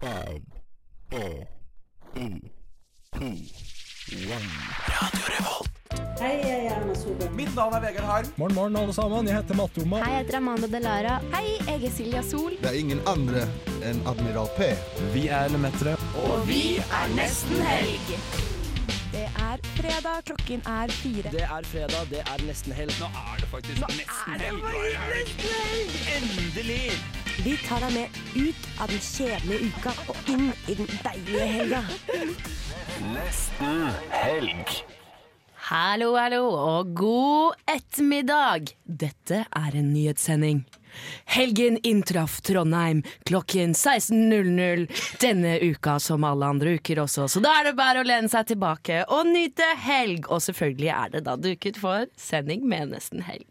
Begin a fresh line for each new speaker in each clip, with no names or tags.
Five, four, three, two, one.
Hei, jeg er Erna Solberg.
Mitt navn er Vegard Harm.
Morgen, morgen, alle sammen. Jeg heter Matte Oma.
Hei, jeg heter Amanda Delara. Hei, jeg er Silja Sol.
Det er ingen andre enn Admiral P.
Vi er Lemetere.
Det er fredag, klokken er fire.
Det er fredag, det er nesten helg. Nå er det faktisk nesten helg. Endelig!
Vi tar deg med ut av den kjedelige uka og inn i den deilige helga.
Hallo, hallo, og god ettermiddag! Dette er en nyhetssending. Helgen inntraff Trondheim klokken 16.00 denne uka som alle andre uker også, så da er det bare å lene seg tilbake og nyte helg. Og selvfølgelig er det da duket for sending med Nesten helg.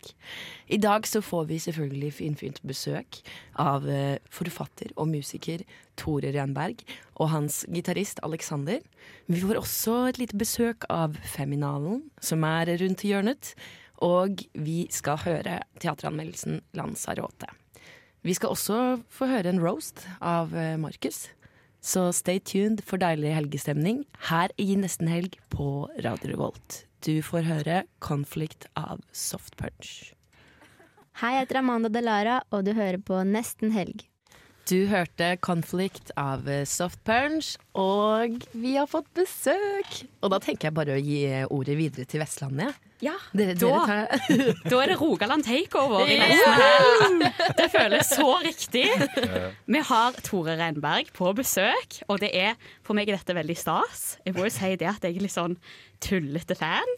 I dag så får vi selvfølgelig finfint besøk av eh, forfatter og musiker Tore Renberg og hans gitarist Alexander. Vi får også et lite besøk av Feminalen, som er rundt hjørnet. Og vi skal høre teateranmeldelsen Lanzarote. Vi skal også få høre en roast av eh, Markus. Så stay tuned for deilig helgestemning her i Nesten Helg på Radio Revolt. Du får høre 'Conflict' av Soft Punch.
Hei, jeg heter Amanda Delara, og du hører på Nesten helg.
Du hørte 'Conflict' av eh, Soft Punch, og vi har fått besøk! Og da tenker jeg bare å gi eh, ordet videre til Vestlandet.
Ja,
Dere,
da,
dere tar,
da er det Rogaland takeover. i
Ja!
nesten helg. Det føles så riktig. Eh, Vi har Tore Renberg på besøk, og det er for meg er dette veldig stas. Jeg må jo si det at jeg er litt sånn tullete fan.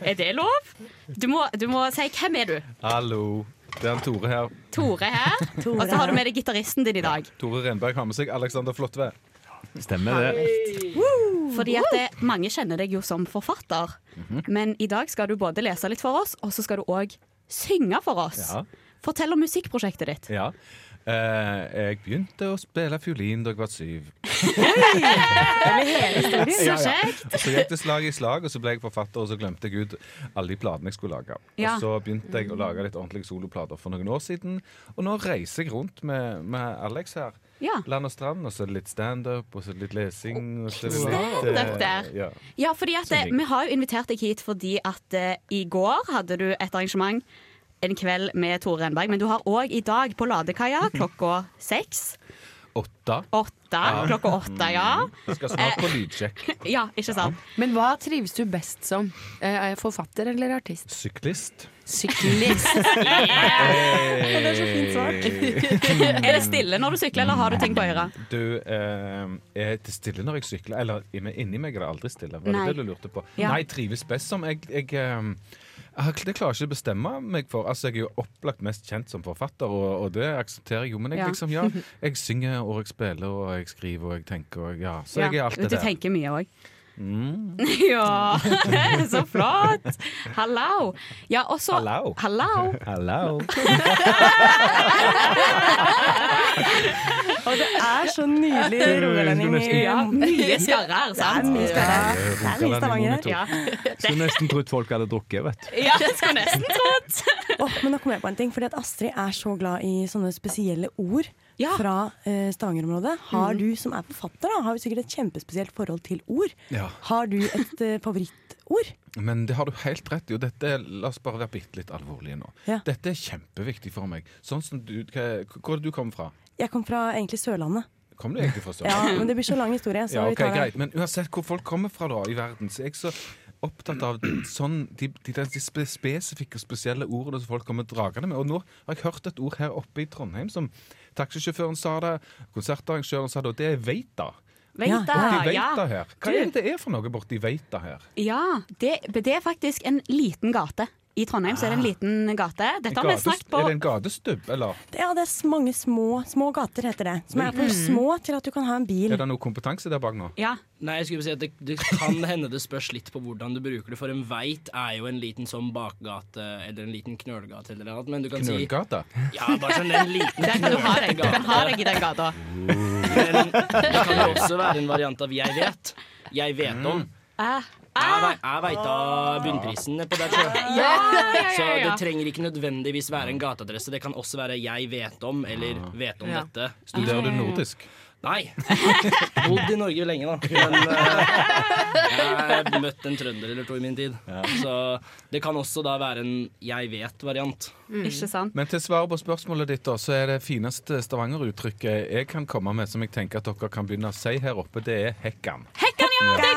Er det lov? Du må, du må si hvem er du?
Hallo. Det er han Tore her.
Tore her. Og så har du med deg gitaristen din i dag.
Tore Renberg har med seg Alexander Flotve.
Stemmer det.
Fordi at det, mange kjenner deg jo som forfatter. Men i dag skal du både lese litt for oss, og så skal du òg synge for oss.
Ja.
Fortell om musikkprosjektet ditt.
Ja. Eh, jeg begynte å spille fiolin da jeg var syv.
Så kjekt.
Og Så gikk det slag i slag, og så ble jeg forfatter, og så glemte jeg ut alle de platene jeg skulle lage.
Ja.
Og så begynte jeg å lage litt ordentlige soloplater for noen år siden, og nå reiser jeg rundt med, med Alex her.
Ja.
Land og strand, og så er det litt standup, og så er det litt lesing. Og så er det
Standup
litt, eh,
der.
Ja.
Ja, fordi at eh,
Som ligger.
Vi har jo invitert deg hit fordi at eh, i går hadde du et arrangement en kveld med Tore Renberg, men du har òg i dag på Ladekaia klokka seks.
Åtte.
Åtte. Klokka åtte, ja.
Jeg skal snart på lydsjekk.
Ja, ikke sant?
men hva trives du best som? Eh, er jeg Forfatter eller artist?
Syklist.
Syklist.
Det er så fint
Er det stille når du sykler, eller har du ting på øret?
Du, eh, er det stille når jeg sykler? Eller inni inni meg er det aldri stille. Var
Nei.
det det du lurte på?
Ja.
Nei, trives best som jeg, jeg, eh, jeg Det klarer jeg ikke å bestemme meg for. Altså, Jeg er jo opplagt mest kjent som forfatter, og, og det aksepterer jeg jo. Men jeg
Ja.
liksom, ja, jeg synger, og jeg spiller, og jeg skriver, og jeg tenker, og ja. Så jeg er alt det
Du
der. Mm.
tenker mye òg. Ja, så flott! Hallo. Ja, og så
Hallo.
Hallo.
Hello.
Og det er så nydelig rogalending.
Ja, mye skarrer, sant?
mye skarre. Det er mye Stavanger her.
Ja.
Skulle nesten trodd folk hadde drukket, vet du.
ja, skulle nesten trodd.
Åh, men nå kom jeg på en ting, fordi at Astrid er så glad i sånne spesielle ord
Ja.
fra eh, Stavanger-området. Har du som er forfatter, da, har jo sikkert et kjempespesielt forhold til ord.
Ja.
Har du et eh, favorittord?
Men det har du helt rett i, og dette, la oss bare være bitte litt alvorlige nå.
Ja.
Dette er kjempeviktig for meg. Sånn som du, hva, Hvor er det du kommer fra?
Jeg kom fra egentlig Sørlandet.
Kom du egentlig fra Sørlandet?
Ja, men det blir så lang historie, så
Ja,
vi
ok,
tar det.
greit. Men uansett hvor folk kommer fra da, i verden, så er jeg så opptatt av sånn, de, de, de spe- spesifikke og spesielle ordene som folk kommer dragende med. Og nå har jeg hørt et ord her oppe i Trondheim som taxisjåføren sa det, konsertarrangøren sa det, og det er veita.
Veit da.
Borti veita
Ja.
her. Hva er det det er for noe borti veita her?
Ja, det, det er faktisk en liten gate. I Trondheim så er det en liten gate. Dette har vi
Gades-
snakket på
Er det Ah. en gatestubb, eller
Ja, det er s- mange små, små gater heter det. Som er for
Mm.
små til at du kan ha en bil.
er det noe kompetanse der bak nå?
ja.
Nei, jeg skulle bare si at det, det kan hende det spørs litt på hvordan du bruker det, for en veit er jo en liten sånn bakgate eller en liten knølgate eller noe annet, men du kan
Knølgata?
si Ja, bare sånn en liten
Der kan du ha deg, du kan ha deg
knølgate.
i den gata.
Men det kan jo også være en variant av 'jeg vet'. Jeg vet om.
Ah,
Jeg, vei- jeg veit av bunnprisen på der, tror jeg.
ja,
Så
ja, ja,
det
ja.
trenger ikke nødvendigvis være en gateadresse. Ah. Det kan også være 'jeg vet om' eller 'vet om
Ja.
dette'.
Studerer du nordisk?
Nei. Bodd i Norge lenge, da. Men eh, jeg har møtt en trønder eller to i min tid. Så det kan også da være en jeg vet-variant.
Mm.
Ikke sant?
Men til svaret på spørsmålet ditt, da, så er det fineste Stavanger-uttrykket jeg kan komme med, som jeg tenker at dere kan begynne å si her oppe, det er 'hekkan'.
Hekkan, ja! Det er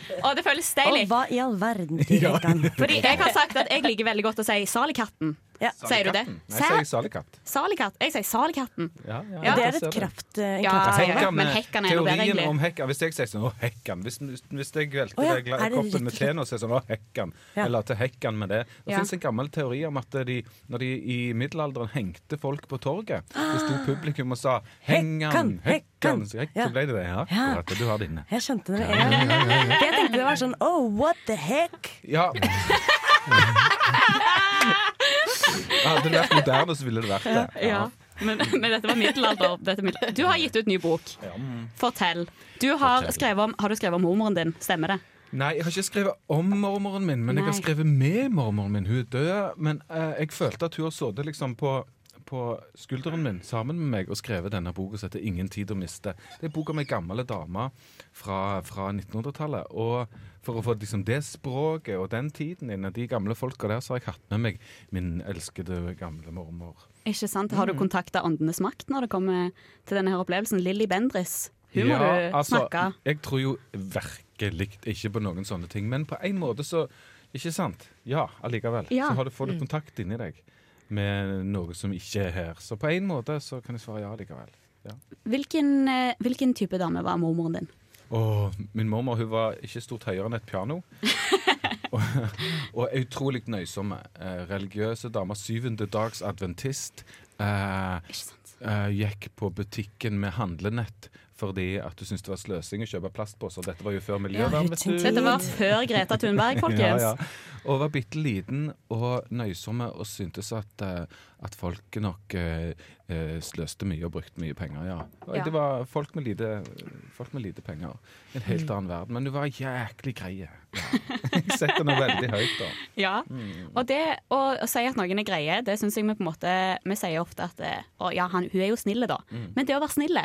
godt! Og det føles
Og
deilig.
hva i all verden betyr den?
Fordi jeg har sagt at jeg liker veldig godt å si salikatten.
Ja.
Sier du det?
Nei, jeg sier salikatt.
Salikatt. Jeg sier salikatten.
Ja,
Ja,
Det er
jeg
et
ser
kraft, en
Ja,
kraftsalve.
ja, ja. Men hekkan er noe bedre,
Teorien
egentlig.
om hekkan Hvis jeg sier sånn 'Å, hekkan' Hvis, hvis jeg velter
Å, ja.
det gla-
Er det
koppen med
riktig?
te nå, så er det sånn 'Å, hekkan'.
Ja.
Eller til hekkan med det. Det
Ja.
finnes en gammel teori om at de, når de i middelalderen hengte folk på torget, det sto publikum og sa 'Hengan,
Hekkan,
hekkan',
hekkan.
så hekk-
Ja.
så ble det det. Ja,
Ja.
akkurat. Og du har det inne.
Jeg skjønte det med en gang. For Jeg tenkte det var sånn oh, what the heck?
Ja. Hadde det vært moderne, så ville det vært det.
Ja. Men, men dette var middelalder. Dette er middel- Du har gitt ut ny bok. Fortell. Du har
Fortell.
skrevet om Har du skrevet om mormoren din? Stemmer det?
Nei, jeg har ikke skrevet om mormoren min, men jeg har
Nei.
skrevet med mormoren min. Hun er død, men eh, jeg følte at hun har sittet liksom på på skulderen min sammen med meg og skrevet denne boka som heter 'Ingen tid å miste'. Det er boka om ei gammel dame fra, fra 1900-tallet. Og for å få liksom det språket og den tiden inn i de gamle folka der, så har jeg hatt med meg min elskede gamle mormor.
Ikke sant? Har du
Mm.
kontakta Åndenes makt når det kommer til denne her opplevelsen? Lilly Bendriss. Hun må
Ja,
du
altså,
snakke
Jeg tror jo virkelig ikke på noen sånne ting, men på en måte så Ikke sant? Ja, allikevel.
Ja. Mm.
Så har du, får du kontakt inni deg med noe som ikke er her. Så på en måte så kan jeg svare ja likevel.
Hvilken, eh, hvilken type dame var mormoren din?
Åh, min mormor hun var ikke stort høyere enn et piano. og, og utrolig nøysomme. Eh, religiøse damer. Syvende dags adventist. Eh,
Ikke sant?
eh, gikk på butikken med handlenett fordi at du syntes det var sløsing å kjøpe plastposer. Dette var jo før miljøvern, vet du.
Dette var før Greta Thunberg, folkens.
Ja, ja. Og var bitte liten og nøysomme og syntes at, eh, at folk nok eh, eh, sløste mye og brukte mye penger. Ja. Og
Ja.
Det var folk med, lite, folk med lite penger. En helt annen verden. Men hun var jæklig grei. Ja. Jeg setter henne veldig høyt, da.
Ja,
Mm.
og det å, å si at noen er greie, det syns jeg vi på en måte Vi sier ofte at eh, å, ja, han, hun er jo snill, da.
Mm.
Men det å være snill,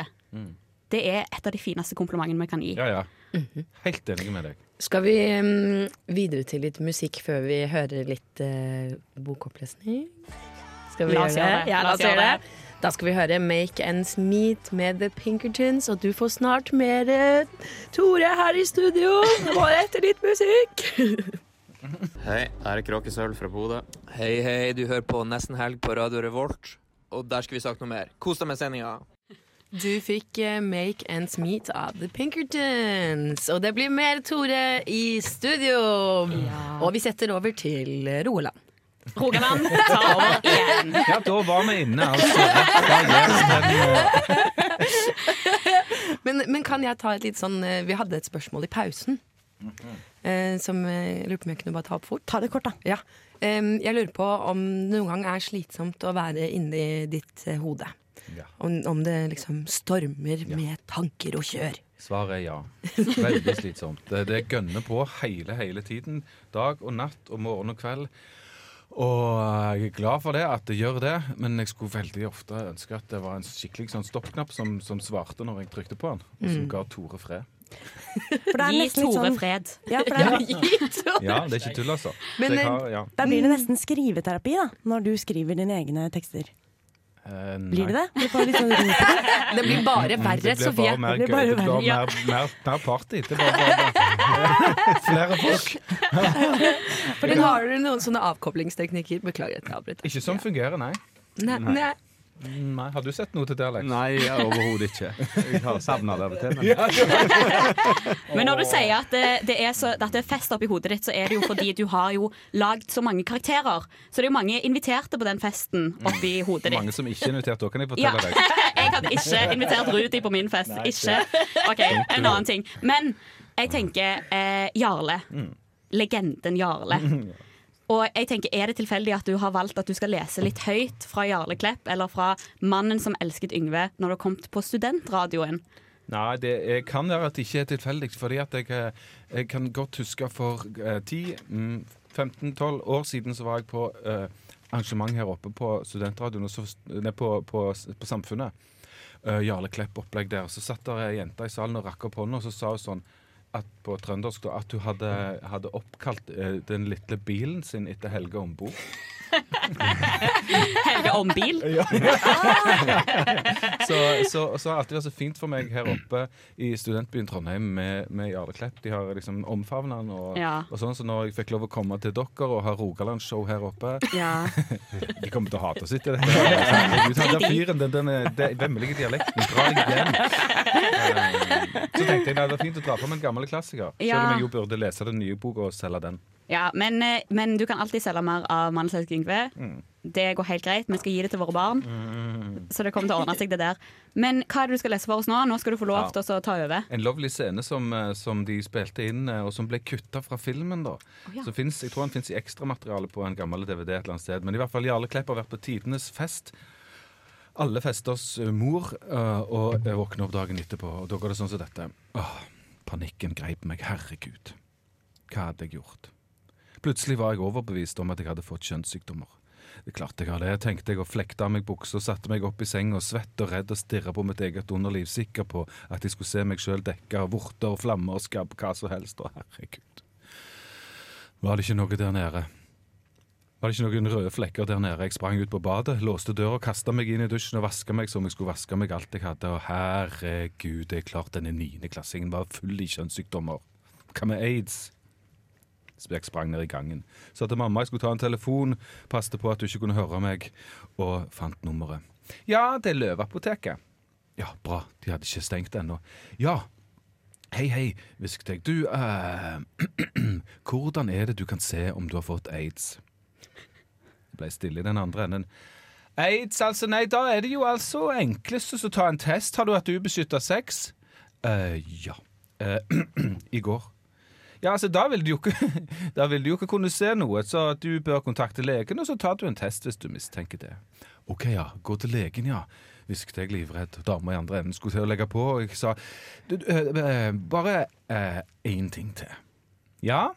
det er et av de fineste komplimentene vi kan gi.
Ja, ja.
Mhm.
Helt enig med deg.
Skal vi mm, videre til litt musikk før vi hører litt eh, bokopplesning? Skal vi
La oss gjøre det.
Ja, la oss gjøre det. Da skal vi høre Make Ends Meet med The Pinkertons, og du får snart mer eh, Tore her i studio. Bare etter litt musikk.
Hei, her er Kråkesølv fra Bodø. Hei, hei, du hører på Nesten Helg på Radio Revolt. Og der skal vi snakke noe mer. Kos deg med sendinga.
Du fikk eh, Make Ends Meet av The Pinkertons. Og det blir mer Tore i studio. Og vi setter over til eh, Roland.
Rogaland tar over igjen.
Ja, da var vi inne, altså. Hva gjør den,
Men, men kan jeg ta et litt sånn eh, Vi hadde et spørsmål i pausen. eh, Som eh, jeg lurer på om jeg kunne bare ta opp fort.
Ta det kort, da.
Ja. Em, Jeg lurer på om det noen gang er slitsomt å være inni ditt eh, hode.
eh, ja.
Om, om det liksom stormer med tanker og kjør.
Svaret er ja. Veldig slitsomt. Det, det gønner på hele, hele tiden. Dag og natt og morgen og kveld. Og eh, jeg er glad for det, at det gjør det, men jeg skulle veldig ofte ønske at det var en skikkelig sånn stoppknapp som, som svarte når jeg trykte på den, og
Mm.
som ga Tore fred.
For det er
Gi
nesten litt
Tore
sånn
fred.
ja, for det er,
Ja, det er ikke tull, altså. Så
Men,
jeg har, ja.
eh, Da blir det nesten skriveterapi, da, når du skriver dine egne tekster.
Eh, nei.
Blir det det? Du får litt sånn ro på det.
Det blir bare verre,
Mm, Det blir
Sofie.
bare mer
Det
gøy.
blir bare
Det blir
verre.
mer, mer, mer party. Det blir bare flere folk.
Men har du noen sånne avkoblingsteknikker? Beklager at jeg avbryter.
Ikke som fungerer, nei. Mm,
Nei, nei.
nei. Har du sett noe til det, Alex?
Nei, ja, overhodet ikke. Jeg har savna det av og til. Men
Men når du sier at det, det, er så, at det er fest oppi hodet ditt, så er det jo fordi du har jo lagd så mange karakterer. Så det er jo mange inviterte på den festen oppi hodet ditt.
Mange som ikke er invitert, da kan jeg
Ja.
fortelle deg.
Jeg hadde ikke invitert Rudi på min fest. Ikke. OK, en annen ting. Men jeg tenker eh, Jarle. Legenden Jarle. Og jeg tenker, Er det tilfeldig at du har valgt at du skal lese litt høyt fra Jarle Klepp eller fra 'Mannen som elsket Yngve' når du har kommet på studentradioen?
Nei, det er, kan være at det ikke er tilfeldig, fordi at jeg, eh, jeg kan godt huske for eh, 10, mm, 15-12 år siden så var jeg på eh, arrangement her oppe på studentradioen, og så, nei, på, på, på Samfunnet. eh, Jarle Klepp-opplegg der. Så satt der ei jente i salen og rakk opp hånda, og så sa hun sånn at på trøndersk da, at hun hadde, hadde oppkalt eh, den lille bilen sin etter Helge Ombo.
Helge om bil.
Så, så, så har det alltid vært så fint for meg her oppe i studentbyen Trondheim med, med Jarle Klepp. De har liksom omfavna han. Og,
Ja.
og sånn, så når jeg fikk lov å komme til dere og ha Rogalandsshow her oppe
Ja.
De kommer til å hate oss etter dette. Herregud, han der fyren, den, den, den vemmelige dialekten, dra deg hjem. Eh, Så tenkte jeg nei, det var fint å dra fram en gammel klassiker, selv om
Ja.
jeg jo burde lese den nye boka og selge den.
Ja, men, eh, men du kan alltid selge mer av Mandelselskap Yngve.
Mm.
Det går helt greit. Vi skal gi det til våre barn. Så det kommer til å ordne seg, det der. Men hva er det du skal lese for oss nå? Nå skal du få lov
Ja.
til å ta over.
En lovely scene som, eh, som de spilte inn, eh, og som ble kutta fra filmen. da.
ja.
Så finnes, Jeg tror han fins i ekstramateriale på en gammel DVD et eller annet sted. Men i hvert fall Jarle Klepp har vært på tidenes fest. Alle festers eh, mor, eh, og jeg våkner opp dagen etterpå, og da går det sånn som dette. Åh, panikken greip meg, herregud. Hva hadde jeg gjort? Plutselig var jeg overbevist om at jeg hadde fått kjønnssykdommer. Det klarte jeg av det, tenkte jeg og flekte av meg buksa, satte meg opp i senga, svett og redd og stirra på mitt eget underliv, sikker på at jeg skulle se meg sjøl dekka av vorter og flammer og skabb, hva som helst, og herregud. Var det ikke noe der nede? Var det ikke noen røde flekker der nede? Jeg sprang ut på badet, låste døra, kasta meg inn i dusjen og vaska meg som jeg skulle vaske meg alt jeg hadde, og herregud, det er klart denne niendeklassingen var full i kjønnssykdommer. Hva med aids? Så Jeg sprang ned i gangen. Sa til mamma jeg skulle ta en telefon, passte på at du ikke kunne høre meg, og fant nummeret. Ja, det er Løveapoteket. Ja, bra, de hadde ikke stengt ennå. Ja, hei, hei, hvisket jeg. Du, eh, hvordan er det du kan se om du har fått aids? Det ble stille i den andre enden. Aids, altså, nei, da er det jo altså enklest å ta en test. Har du hatt ubeskytta sex? eh, ja. Eh, I går. Ja, altså, da vil, du jo ikke, da vil du jo ikke kunne se noe, så du bør kontakte legen, og så tar du en test hvis du mistenker det. Ok, ja, gå til legen, ja, hvisket jeg livredd. Dama i andre enden skulle til å legge på, og jeg sa du, du, eh, eh, bare eh, én ting til. Ja?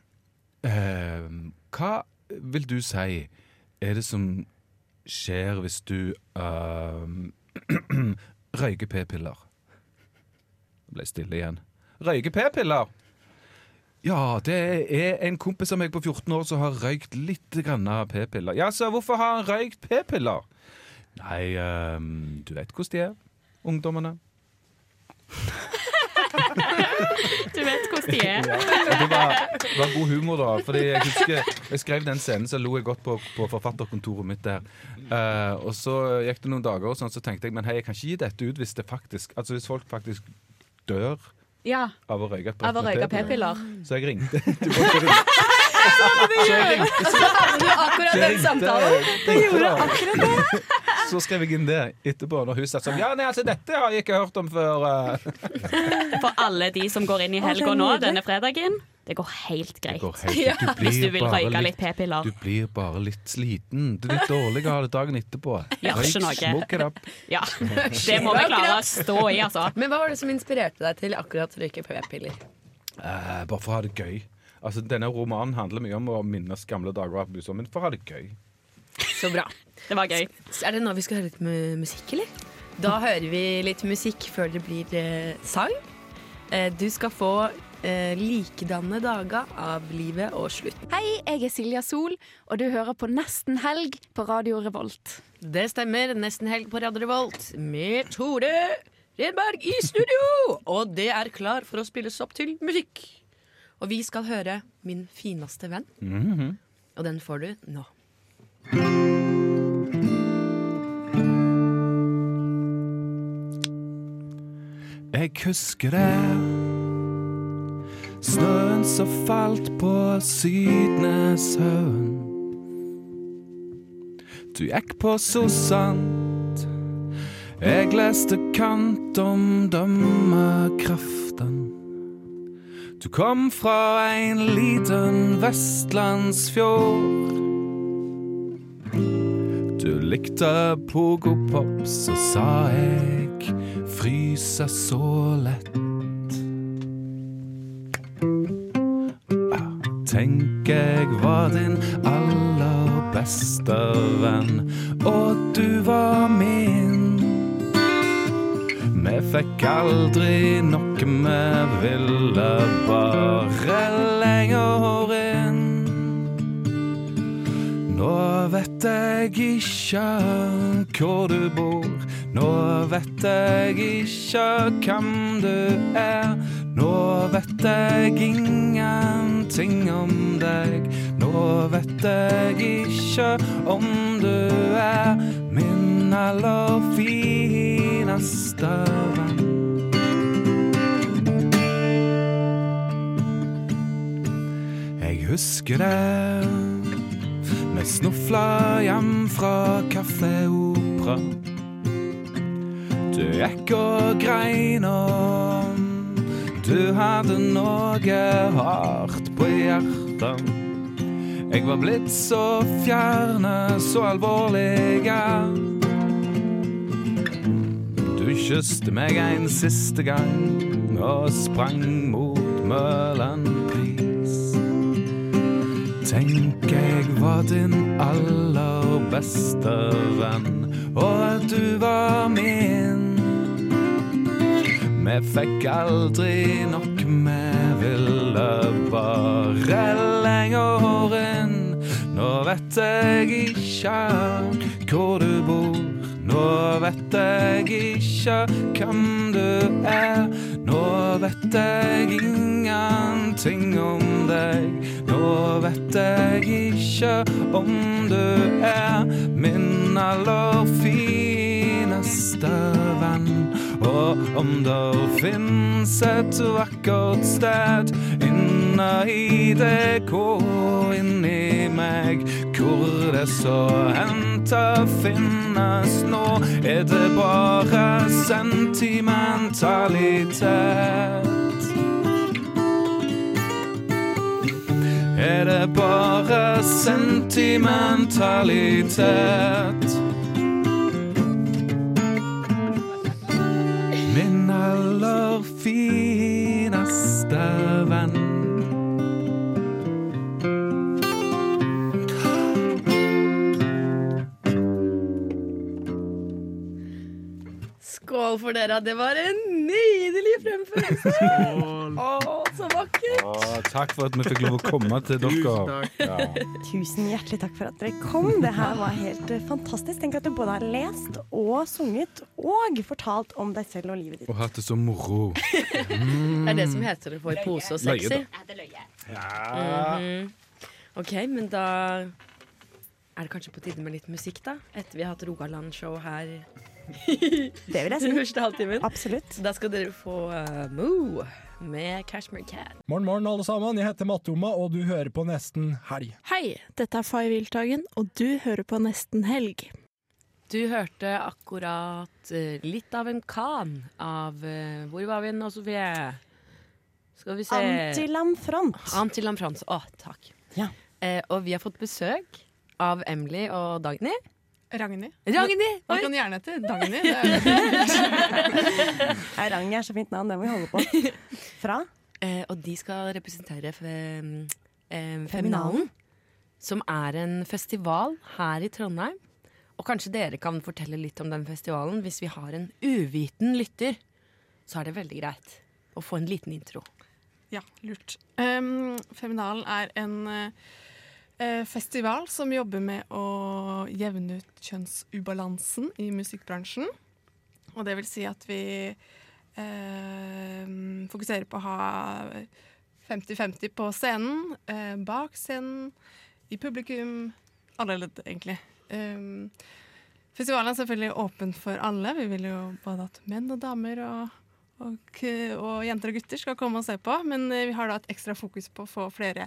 Eh, hva vil du si er det som skjer hvis du eh, røyker p-piller? Det ble stille igjen. Røyker p-piller? Ja, det er en kompis av meg på 14 år som har røykt litt grann av p-piller. Ja, så hvorfor har han røykt p-piller? Nei, ehm, du vet hvordan de er, ungdommene.
Du vet hvordan de er.
Og det var, det var god humor, da. Fordi jeg husker jeg skrev den scenen, så lo jeg godt på, på forfatterkontoret mitt der. Eh, og så gikk det noen dager, og sånn, så tenkte jeg men hei, jeg kan ikke gi dette ut hvis det faktisk Altså hvis folk faktisk dør
Ja.
av å røyke et brett
Av å
med
røyke
p-piller.
p-piller.
Så jeg ringte. Du
Så hadde du akkurat den samtalen. Det gjorde
da.
akkurat det.
Så skrev jeg inn det etterpå, når hun satt sånn Ja, nei, altså, dette har jeg ikke hørt om før. eh."
For alle de som går inn i
Å, det er
helga nå
nydelig.
denne fredagen. Det går helt greit.
går helt greit. Du
Hvis du
blir
vil
bare
røyke
litt-
litt p-piller.
Du blir bare litt sliten. Du er litt dårlig av det dagen etterpå.
Gjør
Røyk,
ikke noe.
smoke it up.
Ja, det må vi klare å stå i, altså.
Men hva var det som inspirerte deg til akkurat røyke p-piller?
Eh, bare for å ha det gøy. Altså, denne romanen handler mye om å minnes gamle dager av bussen, men for å ha det gøy.
Så bra.
Det var gøy.
Er det nå vi skal høre litt mu- musikk, eller? Da hører vi litt musikk før det blir eh, sang. Eh, du skal få eh, Likedanne dager av livet og slutten.
Hei, jeg er Silja Sol, og du hører på Nesten helg på Radio Revolt.
Det stemmer. Nesten helg på Radio Revolt med Tore Renberg i studio! Og det er klar for å spilles opp til musikk. Og vi skal høre Min fineste venn,
Mhm.
og den får du nå.
Jeg husker det Snøen som falt på Sydneshaugen Du gikk på Sossant Jeg leste kant om dømmekraften Du kom fra en liten vestlandsfjord Du likte pogo-pop, så sa jeg fryse så lett. Ah, Tenk jeg var din aller beste venn, og du var min. Vi fikk aldri nok, vi ville bare lenger inn. Nå vet jeg ikke hvor du bor. Nå vet jeg ikke hvem du er. Nå vet jeg ingenting om deg. Nå vet jeg ikke om du er min aller fineste venn. Jeg husker det. Vi snufla hjem fra Kafé Opera. Du gikk og grein om du hadde noe hardt på hjertet. Jeg var blitt så fjerne, så alvorlig. ja. Du kysste meg en siste gang og sprang mot Møhlenpris. Tenk jeg var din aller beste venn, og at du var min. Vi fikk aldri nok, vi ville bare lenger inn. Nå vet jeg ikke hvor du bor, nå vet jeg ikke hvem du er. Nå vet jeg ingenting om deg, nå vet jeg ikke om du er min aller fineste venn. Og om det fins et vakkert sted inne i deg og inni meg, hvor det så henta finnes nå, er det bare sentimentalitet. Er det bare sentimentalitet? Min aller fineste venn.
Skål for dere. Det var en nydelig fremførelse. Å, så vakkert.
Å, takk for at vi fikk lov å komme til dere. Ja.
Tusen hjertelig takk for at dere kom. Det her var helt eh, fantastisk. Tenk at du både har lest og sunget og fortalt om deg selv og livet ditt.
Og hatt det så moro.
Det er det som heter det på i pose og
Løye,
sexy.
da.
Mhm. OK, men da er det kanskje på tide med litt musikk, da? Etter vi har hatt Rogaland-show her.
Det vil jeg si.
Den første halvtimen.
Absolutt.
Da skal dere få eh, Moo med Cashmere Cat.
Morgen, morgen, alle sammen. Jeg heter Mattoma, og du hører på Nesten Helg.
Hei, dette er Fay Wiltagen, og du hører på Nesten Helg.
Du hørte akkurat eh, litt av en kan av eh, Hvor var vi nå, Sofie? Skal vi se
Antilamfront.
Antilamfront. Å, takk. Eh, og vi har fått besøk av Emily og Dagny.
Ragnhild.
Ragnhild!
Man kan gjerne hete Dagny. det er-
Nei, Ragnhild er så fint navn, det må vi holde på. Fra?
Eh, og de skal representere fe- eh,
Feminalen.
Feminalen, som er en festival her i Trondheim. Og kanskje dere kan fortelle litt om den festivalen. Hvis vi har en uviten lytter, så er det veldig greit å få en liten intro.
Ja, lurt. Um, Feminalen er en eh, eh, festival som jobber med å jevne ut kjønnsubalansen i musikkbransjen. Og det vil si at vi eh, fokuserer på å ha 50-50 på scenen, eh, bak scenen, i publikum. Alle ledd, egentlig. Um, festivalen er selvfølgelig åpen for alle. Vi vil jo både at menn og damer og og, og jenter og gutter skal komme og se på. Men eh, vi har da et ekstra fokus på å få flere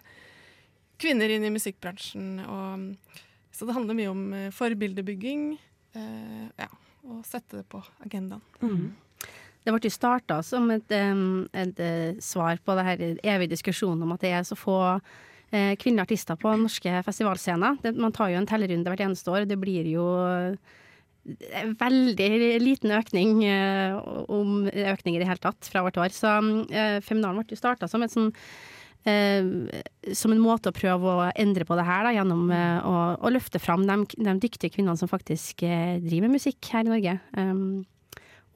kvinner inn i musikkbransjen. Og, så det handler mye om eh, forbildebygging. eh, ja, og sette det på agendaen.
Det ble jo starta som et, em, et eh, svar på det her evige diskusjonen om at det er så få eh, kvinnelige artister på norske festivalscener. Det, man tar jo en tellerunde hvert eneste år, og det blir jo eh, veldig liten økning, eh, om økning i det hele tatt, fra hvert år. Så eh, Feminalen ble jo starta som et sånn eh, som en måte å prøve å endre på det her, da, gjennom eh, å, å løfte fram de, de dyktige kvinnene som faktisk eh, driver med musikk her i Norge. Um,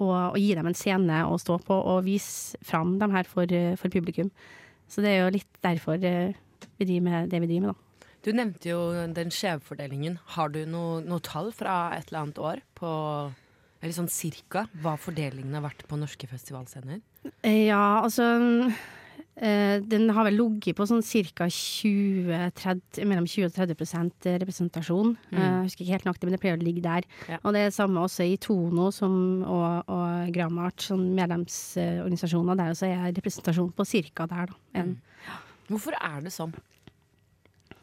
og, og gi dem en scene å stå på og vise fram dem her for, eh, for publikum. Så det er jo litt derfor eh, vi driver med det vi driver med, da.
Du nevnte jo den skjevfordelingen. Har du noe, noe tall fra et eller annet år på eller sånn cirka hva fordelingen har vært på norske festivalscener?
Eh, Ja, altså eh, Den har vel ligget på sånn ca. 20-30 mellom 20 og 30 prosent eh, representasjon.
Mm.
Eh, Jeg husker ikke helt nøyaktig, men det pleier å ligge der.
Ja.
Og det er det samme også i Tono som, og, og Gramart, sånn medlemsorganisasjoner. Der også er representasjon på ca. der, da. En,
Hvorfor er det sånn?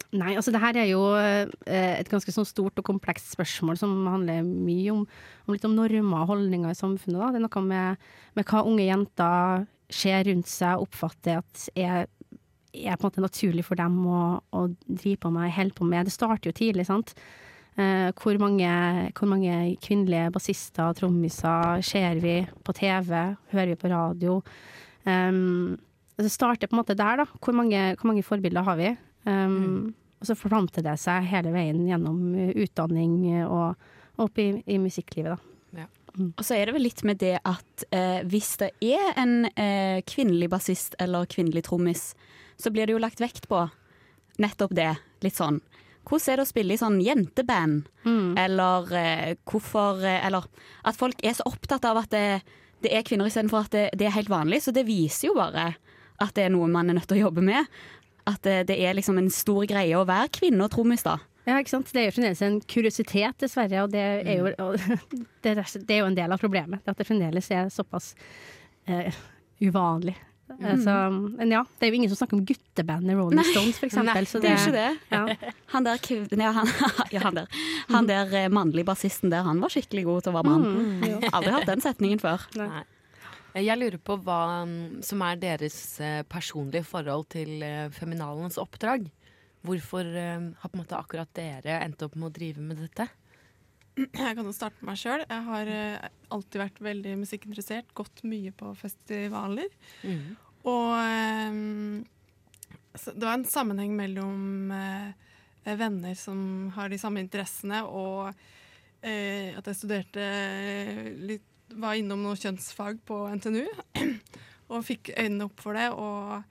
Nei, altså det her er jo eh, et ganske sånn stort og komplekst spørsmål som handler mye om, om litt om normer og holdninger i samfunnet. Da. Det er noe med, med hva unge jenter ser rundt seg og oppfatter at er, er på en måte naturlig for dem å, å drive på med, holde på med. Det starter jo tidlig, sant. Eh, hvor, mange, hvor mange kvinnelige bassister og trommiser ser vi på TV, hører vi på radio? Um, det starter på en måte der, da. Hvor mange, hvor mange forbilder har vi? Um, Og så forplanter det seg hele veien gjennom uh, utdanning uh, og, og opp i, i musikklivet, da.
Og så er det vel litt med det at eh, hvis det er en eh, kvinnelig bassist eller kvinnelig trommis, så blir det jo lagt vekt på nettopp det. Litt sånn Hvordan er det å spille i sånn jenteband? Eller eh, hvorfor eh, Eller at folk er så opptatt av at det, det er kvinner istedenfor at det, det er helt vanlig. Så det viser jo bare at det er noe man er nødt til å jobbe med. At eh, det er liksom en stor greie å være kvinne og trommis, da.
Ja, ikke sant? Det er jo fremdeles en kuriositet, dessverre. Og det er jo, og, det er, det er jo en del av problemet. At det fremdeles er såpass eh, uvanlig.
Mm.
Altså, men ja, det er jo ingen som snakker om gutteband i Rolling Stones, for eksempel.
Nei,
så
det er ikke det.
Ja.
Han der, kv- ja, han, ja, han der, han der eh, mannlige bassisten der, han var skikkelig god til å være mann.
Mm, jo.
Aldri hørt den setningen før.
Nei. Jeg lurer på hva mm, som er deres eh, personlige forhold til eh, Feminalens oppdrag. Hvorfor eh, har på en måte akkurat dere endt opp med å drive med dette?
Jeg kan jo starte med meg sjøl. Jeg har eh, alltid vært veldig musikkinteressert, gått mye på festivaler.
Mhm.
Og ehm, så det var en sammenheng mellom eh, venner som har de samme interessene, og eh, at jeg studerte eh, litt Var innom noe kjønnsfag på NTNU, og fikk øynene opp for det. og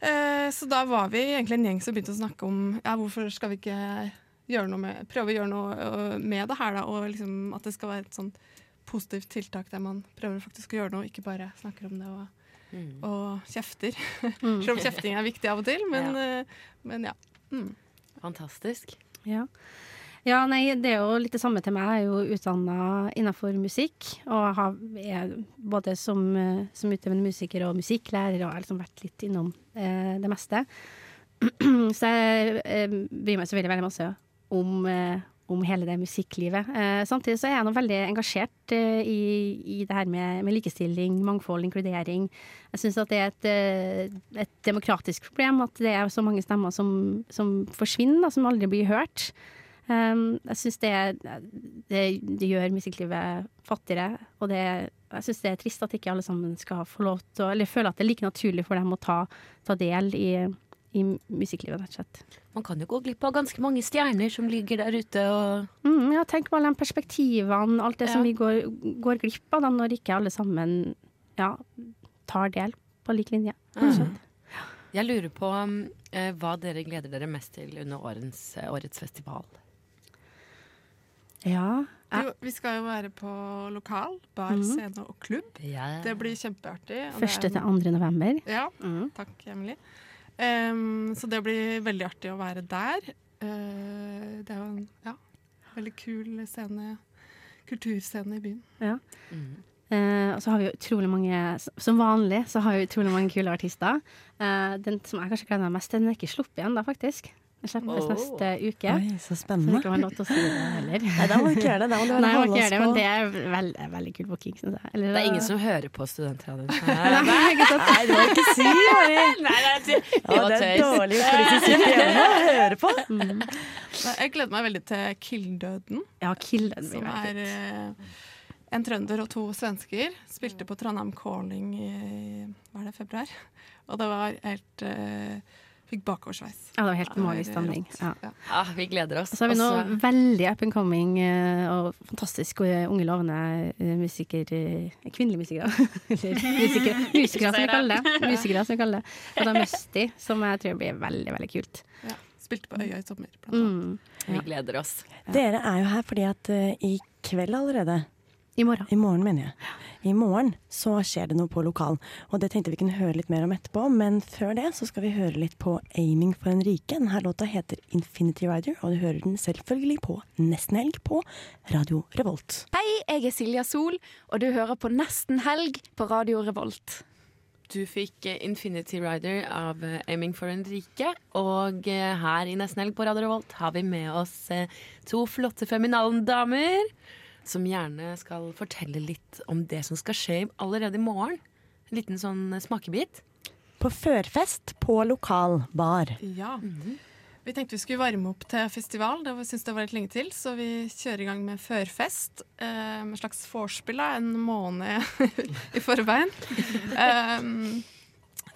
Eh, Så da var vi egentlig en gjeng som begynte å snakke om ja, hvorfor skal vi ikke gjøre noe med, prøve å gjøre noe øh, med det her, da, og liksom at det skal være et sånn positivt tiltak der man prøver faktisk å gjøre noe, ikke bare snakker om det og,
Mm.
og kjefter.
Mm.
Selv om kjefting er viktig av og til, men ja. Men ja. Mm.
Fantastisk.
Ja. ja, nei, det er jo litt det samme til meg. Jeg er jo utdanna innenfor musikk. Og har, er både som, eh, som utøvende musiker og musikklærer og har liksom vært litt innom eh, det meste. Så jeg eh, bryr meg selvfølgelig veldig masse om, eh, om hele det musikklivet. Eh, samtidig så er jeg nå veldig engasjert eh, i, i det her med, med likestilling, mangfold, inkludering. Jeg syns at det er et, eh, et demokratisk problem at det er så mange stemmer som, som forsvinner, da, som aldri blir hørt. Um, jeg syns det, det, det gjør musikklivet fattigere, og det, jeg syns det er trist at ikke alle sammen skal få lov til å Eller føle at det er like naturlig for dem å ta, ta del i, i musikklivet, rett og slett.
Man kan jo gå glipp av ganske mange stjerner som ligger der ute og
Mm, ja, tenk på alle de perspektivene, alt det som
Ja.
vi går, går glipp av da, når ikke alle sammen ja, tar del på lik linje.
Jeg lurer på mm, eh, hva dere gleder dere mest til under årens, eh, årets festival.
Ja.
Jo, vi skal jo være på lokal, bar,
Mhm.
scene og klubb.
Ja.
Det blir kjempeartig. og det er-
Første til andre Mhm. november.
Ja, takk Emily. Ehm, så det blir veldig artig å være der. Eh, det er jo en ja, veldig kul scene, kulturscene i byen.
Ja. Eh, og så har vi jo utrolig mange Som vanlig så har vi utrolig mange kule artister. Eh, den som jeg kanskje gleder meg mest til, den er ikke sluppet igjen da, faktisk. Den slippes
Åh.
neste uke.
Oi, så spennende.
Så det kan være lov til å si det heller.
Nei, da må du ikke gjøre det, da må du bare
Nei, jeg må
holde
ikke
oss
gjøre det, men
på-
det er veld, veldig kul booking, synes jeg. Eller-
Det er ingen som hører på studentradioen.
Nei, ikke sant?
Nei, det må du ikke si, Mari.
Nei,
nei, det,
Ja, det er dårlig for de som sitter hjemme og hører på.
Nei, Jeg gleder meg veldig til Killdøden.
Ja, Killdøden blir
Som
veldig
er eh, en trønder og to svensker. Spilte på Trondheim Calling i hva er det, februar. Og det var helt eh, Fikk bakoversveis.
Ja, det var helt magisk stemning. Ja.
Ja, Ah, vi gleder oss.
Og så har vi nå
Og så-
veldig up and coming eh, og fantastisk eh, unge lovende eh, musiker, eh, kvinnelige musikere. Eller musikere, musikere som vi kaller det. Musikere som vi kaller det. Og da Musty, som jeg tror blir veldig, veldig kult.
Spilte på Øya i sommer.
Mm.
Vi gleder oss.
Dere er jo her fordi at eh, i kveld allerede
I morgen.
I morgen, mener jeg. I morgen så skjer det noe på lokalen. Og det tenkte vi kunne høre litt mer om etterpå, men før det så skal vi høre litt på 'Aiming for en rike'. Denne låta heter 'Infinity Rider', og du hører den selvfølgelig på nesten helg på Radio Revolt.
Hei, jeg er Silja Sol, og du hører på Nesten helg på Radio Revolt.
Du fikk eh, Infinity Rider av eh, Aiming for en rike. Og eh, her i Nesten Helg på Radio Revolt har vi med oss eh, to flotte Feminalen-damer. Som gjerne skal fortelle litt om det som skal skje allerede i morgen. En liten sånn eh, smakebit.
På førfest på lokal bar.
Ja. Vi tenkte vi skulle varme opp til festival, det var- syntes det var litt lenge til, så vi kjører i gang med førfest. eh, Med et slags vorspiel da, en måned i forveien. Um,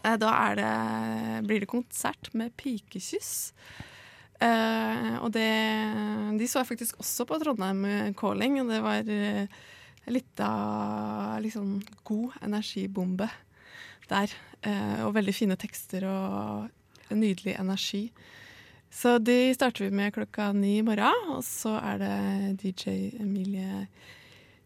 eh, da er det, blir det konsert med pikekyss. Eh, og det, de så jeg faktisk også på Trondheim Calling, og det var eh, litt av liksom, god energibombe der. Eh, og veldig fine tekster og nydelig energi. Så de starter vi med klokka ni i morgen, og så er det DJ Emilie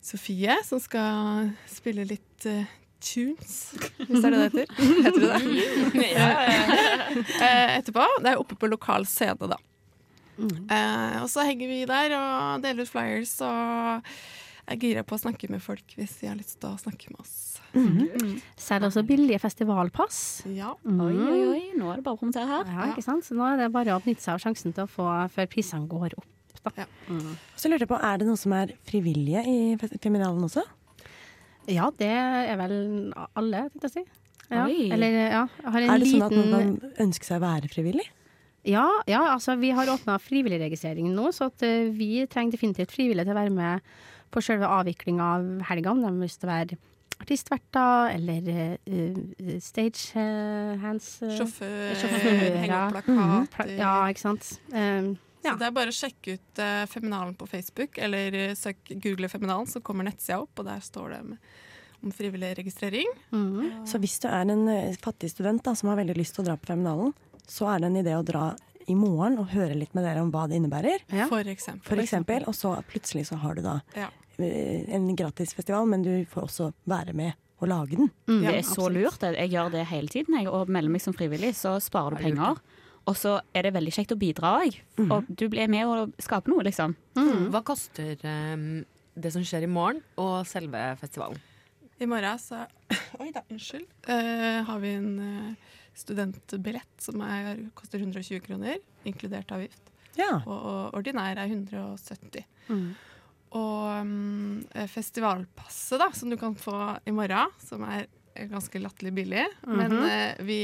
Sofie som skal spille litt eh, tunes, hvis det er det det heter. Heter det det? Eh, Etterpå. Det er oppe på lokal scene, da. Eh, og så henger vi der og deler ut flyers, og jeg er gira på å snakke med folk hvis de har lyst til å snakke med oss.
Mm-hmm.
Mhm. Selger også billige festivalpass.
Ja.
Oi, oi, oi. Nå er det bare å promotere her.
Mm. Ja, ikke sant? Så nå er det bare å benytte seg av sjansen til å få før prisene går opp. Da.
Og så lurte jeg på, er det noen som er frivillige i fest- Feminalen også?
Ja, det er vel alle, tenkte jeg å si. Ja.
Oi.
Eller, ja. jeg Har en
Er det sånn
liten...
at man kan ønske seg å være frivillig?
Ja, ja altså, vi har åpna frivilligregistreringen nå, så at, eh, vi trenger definitivt frivillige til å være med på selve avviklinga av helga, om de har lyst til å være artistverter eller uh, stagehands
Sjåfør,
sjåfører.
henge opp
eh, Mhm.
plakater.
Ja, ikke sant. Um,
Så det er bare å sjekke ut eh, Feminalen på Facebook, eller eh, søk, google Feminalen, så kommer nettsida opp, og der står det om- om frivillig registrering.
Så hvis du er en eh, fattig student da, som har veldig lyst til å dra på Feminalen, så er det en idé å dra i morgen og høre litt med dere om hva det innebærer.
For eksempel.
For eksempel, og så plutselig så har du da
Ja.
eh, en gratis festival, men du får også være med og lage den.
Mm.
det er så lurt. det. Jeg gjør det hele tiden. Jeg, og melder meg som frivillig, så sparer du penger. Og så er det veldig kjekt å bidra òg.
Mhm.
Og du blir med og skaper noe, liksom.
Mm.
Hva koster eh, det som skjer i morgen, og selve festivalen?
I morgen så Oi da, unnskyld. Eh, har vi en eh, studentbillett som er, koster 120 kroner, inkludert avgift. Og, og ordinær er 170. Og mm, eh, festivalpasset da, som du kan få i morgen, som er eh, ganske latterlig billig.
Mhm.
Men eh, vi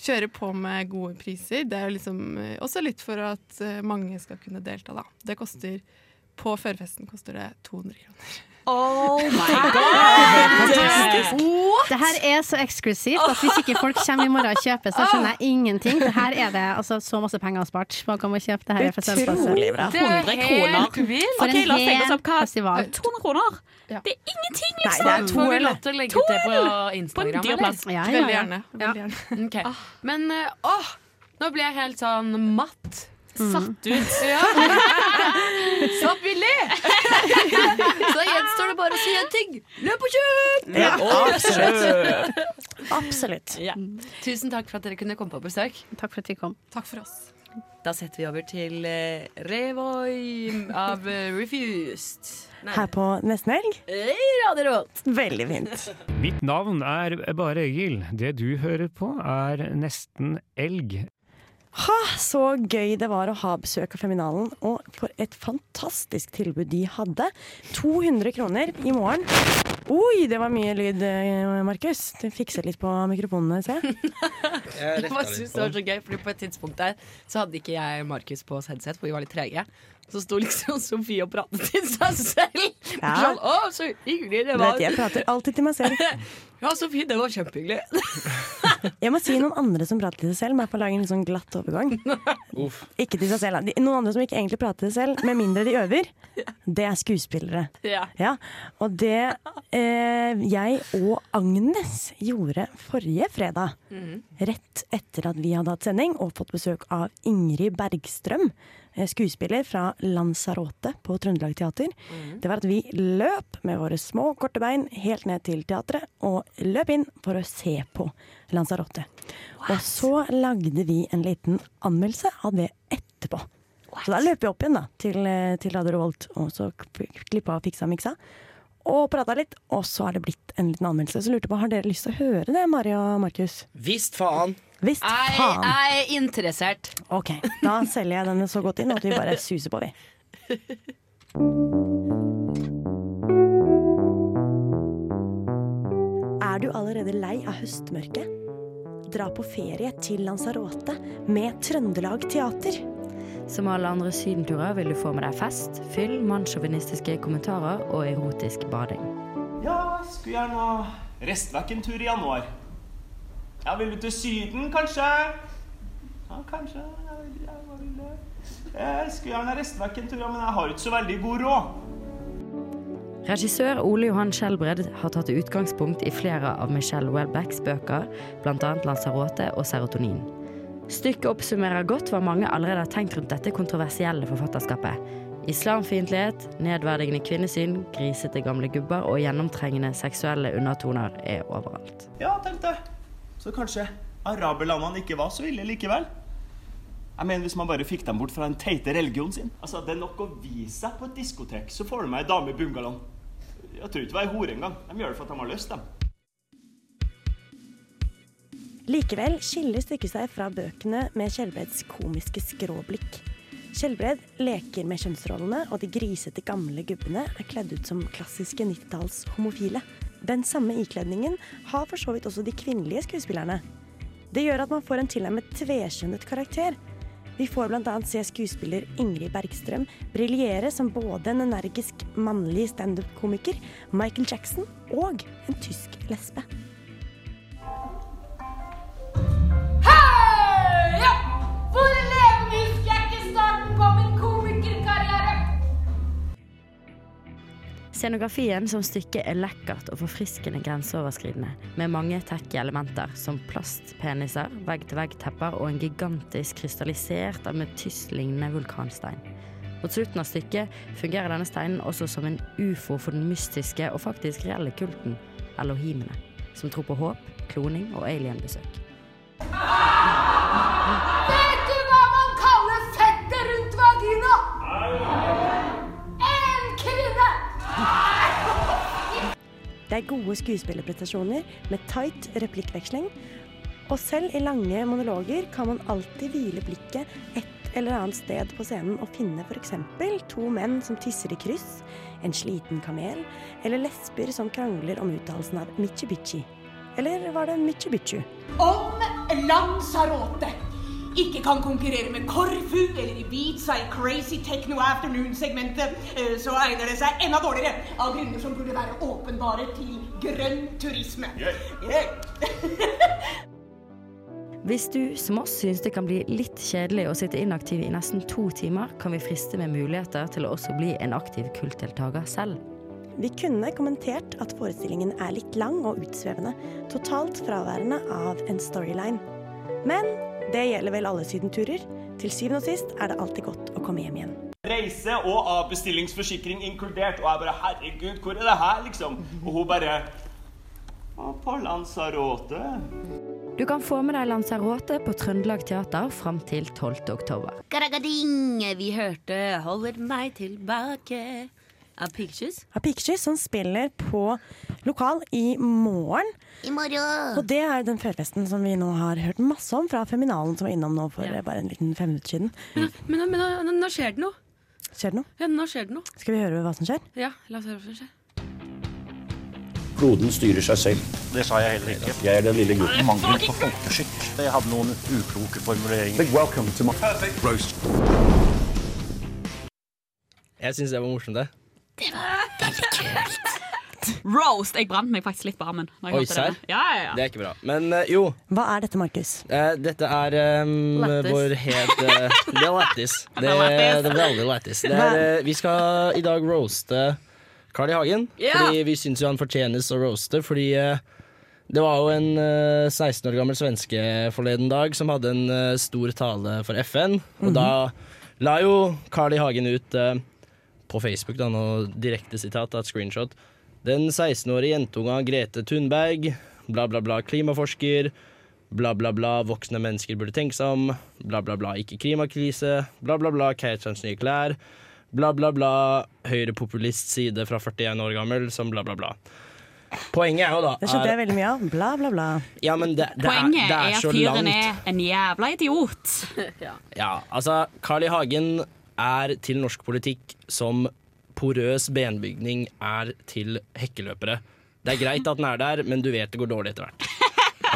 kjører på med gode priser. Det er jo liksom eh, også litt for at eh, mange skal kunne delta, da. Det koster På førfesten koster det 200 kroner.
Oh
my
Fantastisk. Det her er så eksklusivt at hvis ikke folk kommer i morgen og kjøper, så skjønner jeg ingenting. Det her er det altså, så masse penger spart. Man kan bare kjøpe det her. i festivalen.
Utrolig bra.
Det er
100
helt
kroner.
vilt.
Ok, la oss tenke oss opp hva
festival.
200 kroner! Det er ingenting,
Nei,
liksom!
det er to Får vi øl. lov til å legge ut det på Instagram,
På en dyr
eller?
plass.
Ja, ja, ja. Veldig gjerne.
Ja.
Ok. Men eh, åh, nå ble jeg helt sånn matt.
Satt
ut. Ja. Så billig! Så gjenstår det bare å si en ting. Løp og kjøp!
Ja, absolutt.
Ja. Tusen takk for at dere kunne komme på besøk.
Takk for at vi kom.
Takk for oss.
Da setter vi over til eh, Revoy av eh, Refused. Nei.
Her på nesten helg.
Hey, Radio Revolt.
Veldig fint.
Mitt navn er Bare Egil. Det du hører på, er nesten elg.
Ha, så gøy det var å ha besøk av Feminalen, og for et fantastisk tilbud de hadde. 200 kroner i morgen. Oi, det var mye lyd, eh, Markus. Du fikset litt på mikrofonene, ser jeg.
Jeg bare synes det var så gøy, fordi På et tidspunkt der Så hadde ikke jeg Markus på oss headset, for vi var litt trege. Så sto liksom Sofie og pratet til seg selv.
Ja.
Sånn, å, så hyggelig det
Du
var
vet, jeg prater alltid til meg selv.
Ja, Sofie, det var kjempehyggelig.
Jeg må si noen andre som prater til seg selv, bare for å lage en litt sånn glatt overgang.
Uff.
Ikke til seg selv, da. De- Noen andre som ikke egentlig prater til seg selv, med mindre de øver, det er skuespillere.
Ja.
Og det eh, jeg og Agnes gjorde forrige fredag,
Mm.
Mhm.
rett etter at vi hadde hatt sending og fått besøk av Ingrid Bergstrøm, eh, skuespiller fra Lanzarote på Trøndelag Teater, det var at vi løp med våre små, korte bein helt ned til teatret og løp inn for å se på Lanzarote. Og så lagde vi en liten anmeldelse av det etterpå. Så da løp vi opp igjen da, til, eh, til Radio Revolt, og så klippa og fiksa og miksa. Og prata litt, og så har det blitt en liten anmeldelse. Så lurte jeg på, Har dere lyst til å høre det, Mari og Markus?
Visst faen.
Visst
Jeg
faen!
er interessert.
Ok, da selger jeg denne så godt inn at vi bare suser på, vi. Er du allerede lei av høstmørket? Dra på ferie til Lanzarote med Trøndelag Teater.
Som alle andre sydenturer vil du få med deg fest, fyll, mannssjåvinistiske kommentarer og erotisk bading.
Ja, skulle gjerne ha reist vekk en tur i januar. Ja, vil du til Syden, kanskje? Ja, kanskje. Jeg vet ikke, jeg bare vil det. Jeg skulle gjerne ha reist vekk en tur, ja, men jeg har ikke så veldig god råd.
Regissør Ole Johan Skjelbred har tatt utgangspunkt i flere av Michelle Welbecks bøker, bl.a. Lanzarote og Serotonin. Stykket oppsummerer godt hva mange allerede har tenkt rundt dette kontroversielle forfatterskapet. Islamfiendtlighet, nedverdigende kvinnesyn, grisete gamle gubber og gjennomtrengende seksuelle undertoner er overalt.
Ja, tenkte jeg. Så kanskje araberlandene ikke var så ille likevel. Jeg mener, Hvis man bare fikk dem bort fra den teite religionen sin Altså, Det er nok å vise seg på et diskotek, så får du meg ei dame i bungalowen. Jeg tror ikke det var ei hore engang. De gjør det for at de har lyst, dem.
Likevel skiller stykket seg fra bøkene med Skjelbreds komiske skråblikk. Skjelbred leker med kjønnsrollene, og de grisete gamle gubbene er kledd ut som klassiske 90-talls homofile. Den samme ikledningen har for så vidt også de kvinnelige skuespillerne. Det gjør at man får en tilnærmet tveskjønnet karakter. Vi får bl.a. se skuespiller Ingrid Bergstrøm briljere som både en energisk mannlig standup-komiker, Michael Jackson og en tysk lesbe.
Heia! For en levendysk jeg er ikke starten på min komikerkarriere!
Scenografien som stykke er lekkert og forfriskende grenseoverskridende, med mange tacky elementer som plastpeniser, vegg-til-vegg-tepper og en gigantisk krystallisert ametystlignende vulkanstein. Mot slutten av stykket fungerer denne steinen også som en ufo for den mystiske og faktisk reelle kulten, elohimene, som tror på håp, kloning og alienbesøk.
Vet du hva man kaller fettet rundt vagina? En kvinne!
Det er gode skuespillerprestasjoner med tight replikkveksling. Og selv i lange monologer kan man alltid hvile blikket et eller annet sted på scenen og finne f.eks. to menn som tisser i kryss, en sliten kamel, eller lesber som krangler om uttalelsen av Mitsubishi. Eller var det Mitsubichu?
Om Lanzarote ikke kan konkurrere med Korfu eller Ibiza i Crazy Techno Afternoon-segmentet, eh, så egner det seg enda dårligere av grunner som burde være åpenbare til grønn turisme. Yeah.
Hvis du, som oss, syns det kan bli litt kjedelig å sitte inaktiv i nesten to timer, kan vi friste med muligheter til å også bli en aktiv kultdeltaker selv.
Vi kunne kommentert at forestillingen er litt lang og utsvevende, totalt fraværende av en storyline. Men det gjelder vel alle sydenturer. Til syvende og sist er det alltid godt å komme hjem igjen.
Reise og avbestillingsforsikring inkludert. Og jeg bare Herregud, hvor er det her, liksom? Og hun bare Å, på Lanzarote.
Du kan få med deg Lanzarote på Trøndelag Teater fram til 12. oktober.
Garagading, vi hørte 'Holder meg tilbake' av Pictures.
Av Pictures, som spiller på lokal i morgen.
I morgen!
Og det er den førfesten som vi nå har hørt masse om fra Feminalen, som var innom nå for eh, bare en liten fem minutter siden.
Mm.
Men, men nå, nå skjer det noe.
Skjer det noe?
Ja, nå skjer det noe.
Skal vi høre hva som skjer?
Ja, la oss høre hva som skjer.
Kloden styrer seg selv. Det sa jeg heller ikke. Jeg er den lille gutten. Mangel på folkeskikk. Jeg hadde noen ukloke formuleringer. welcome to my perfect roast.
Jeg syns det var morsomt, det.
Det var veldig kult.
Roast! Jeg brant meg faktisk litt på armen. når jeg
Oi,
hørte
serr?
denne. Ja, ja, ja.
Det er ikke bra. Men eh, jo.
Hva er dette, Markus?
Eh, dette er ehm,
Lættis.
vår helt eh, Det er lættis. Det,
Det er lættis.
det blir aldri lættis. Det er, eh, vi skal i dag roaste Carl I. Hagen.
Ja!
Fordi vi syns jo han fortjenes å roaste, fordi eh, det var jo en eh, 16 år gammel svenske forleden dag som hadde en eh, stor tale for FN. Og
Mhm.
da la jo Carl I. Hagen ut eh, på Facebook da, noe direkte sitat, da, et screenshot. Den 16-årige jentunga Grete Thunberg, bla, bla, bla, klimaforsker, bla, bla, bla, voksne mennesker burde tenke seg om, bla, bla, bla, ikke klimakrise, bla, bla, bla, Keitsjans nye klær, bla, bla, bla, høyrepopulist side fra 41 år gammel, som bla, bla, bla. Poenget er jo da
Det skjønte jeg
er,
veldig mye av. Bla, bla, bla.
ja, men det, det er,
Poenget
det
er,
er
at
så
fyren
langt.
er en jævla idiot. ja.
Ja, altså Carl I. Hagen er til norsk politikk som porøs benbygning er til hekkeløpere. Det er greit at den er der, men du vet det går dårlig etter hvert.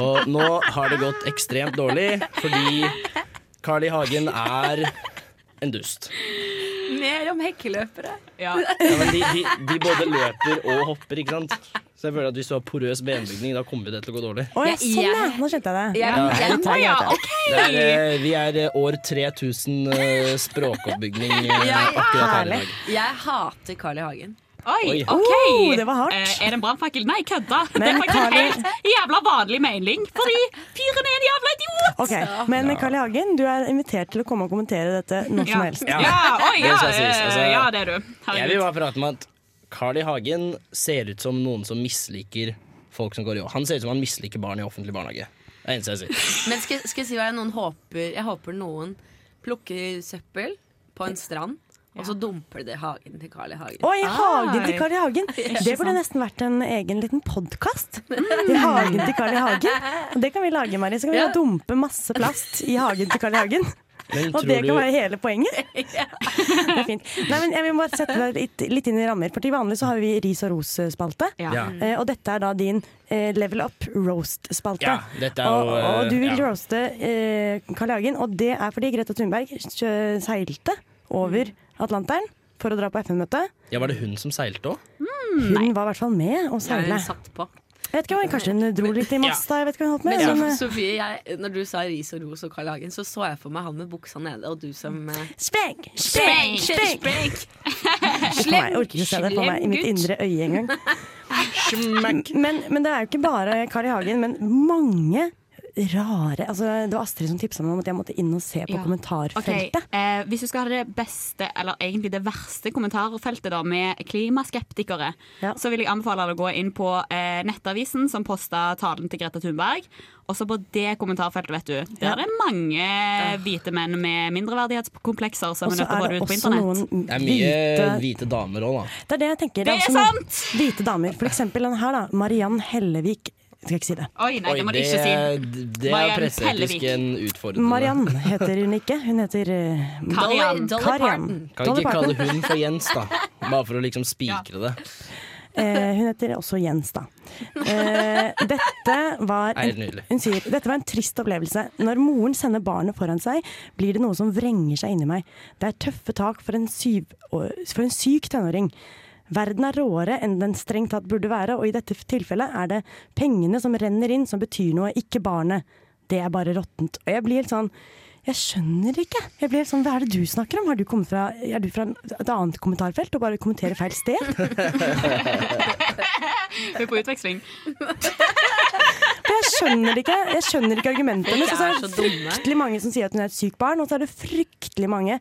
Og nå har det gått ekstremt dårlig, fordi Carl I. Hagen er en dust.
Mer om hekkeløpere.
Ja.
Ja, men de, de, de både løper og hopper, ikke sant? Så jeg føler at hvis du har porøs benbygning, da kommer det til å gå dårlig.
Å ja, sånn, ja. sånn, Nå skjønte jeg det.
Ja,
jeg tar det, jeg tar det.
Det er, eh, vi er eh, år 3000 eh, språkoppbygning eh, akkurat her i dag.
Jeg hater Carl I. Hagen.
Oi,
Oi.
OK!
Oh, det var hardt.
Eh, er det en brannfakkel? Nei, kødda! Det er
Men
faktisk
Carl-
en helt jævla vanlig melding, fordi fyren er en jævla idiot!
Ok, Men Carl I. Hagen, du er invitert til å komme og kommentere dette når som helst.
Ja, oi, ja,
Det skal sies, altså.
eh, ja, det er du.
Jeg vil
Herregud.
bare prate om at Carl I. Hagen ser ut som noen som misliker folk som går i år. Han ser ut som han misliker barn i offentlig barnehage. Det er det eneste jeg sier.
Men skal, skal jeg si hva jeg, noen håper, jeg håper noen plukker søppel på en strand, og så dumper de det i hagen til Carl I. Hagen.
Og i hagen
Ah.
til Carl I. Hagen!
Ikke
Det burde
sant. Mm.
nesten vært en egen liten podkast. I hagen til Carl I. Hagen. Og det kan vi lage, Mari. Så kan vi
Ja.
da dumpe masse plast i hagen til Carl I. Hagen.
Men
Og
tror
det
du-
kan være hele poenget. Det er fint. Nei, men jeg vil bare sette deg litt, litt inn i rammer. For til vanlig så har vi ris og ros-spalte.
Ja.
Eh, Og dette er da din eh, level up roast-spalte.
Ja, dette er jo,
og, og du vil
eh, ja.
roaste eh, Carl I. Hagen, og det er fordi Greta Thunberg kjø- seilte over Atlanteren for å dra på FN-møte.
Ja, Var det hun som seilte òg?
Mm. Hmm,
Hun var i hvert fall med å seile. Jeg vet ikke hva, Kanskje hun dro litt i masta? Jeg vet ikke hva hun holdt
Men
med.
så-
men, eh,
Sofie, jeg, når du sa ris og ros og Carl I. Hagen, så så jeg for meg han med buksa nede, og du som eh,
Spreng!
Spreng!
Spreng!
Spreng!
Nei, Jeg orker ikke å se det for meg i mitt indre øye engang. Men, men det er jo ikke bare Kari Hagen, men mange rare altså, Det var Astrid som tipsa meg om at jeg måtte inn og se på
Ja.
kommentarfeltet.
Ok, eh, hvis du skal ha det beste, eller egentlig det verste kommentarfeltet da, med klimaskeptikere, så vil jeg anbefale deg å gå inn på eh, Nettavisen, som posta talen til Greta Thunberg. Også på det kommentarfeltet, vet du. Der
Ja.
er det mange hvite menn med mindreverdighetskomplekser som
Og
er
så
nødt til å
er
få det ut
det
på
også
internett.
noen
Det er mye
hvite
hvite damer òg, da.
Det er det jeg tenker.
Det er
også noen Hvite damer. For eksempel den her, da. Mariann Hellevik. Skal jeg ikke si det.
Oi, nei, det må du ikke si.
det er
Mariann
presseetisk
Pellevik.
en utfordring.
Mariann heter hun ikke. Hun heter eh,
Karian. Dolly
Karian.
Kan vi
Dolly
ikke
Parton.
kalle hun for Jens, da? Bare for å liksom spikre det.
Eh, hun heter også Jens, da. Eh, dette, var
Nei, helt
en,
nydelig.
hun sier, dette var en trist opplevelse. Når moren sender barnet foran seg, blir det noe som vrenger seg inni meg. Det er tøffe tak for en, syv, for en syk tenåring. Verden er råere enn den strengt tatt burde være, og i dette tilfellet er det pengene som renner inn, som betyr noe, ikke barnet. Det er bare råttent. Og jeg blir helt sånn jeg skjønner ikke. Jeg blir helt sånn, Hva er det du snakker om? Har du kommet fra, er du fra et annet kommentarfelt og bare kommenterer feil sted?
Vi er på utveksling.
For jeg skjønner det ikke Jeg skjønner ikke argumentet hennes. Og så
Folk er
er det
så dumme.
fryktelig mange som sier at hun er et sykt barn, og så er det fryktelig mange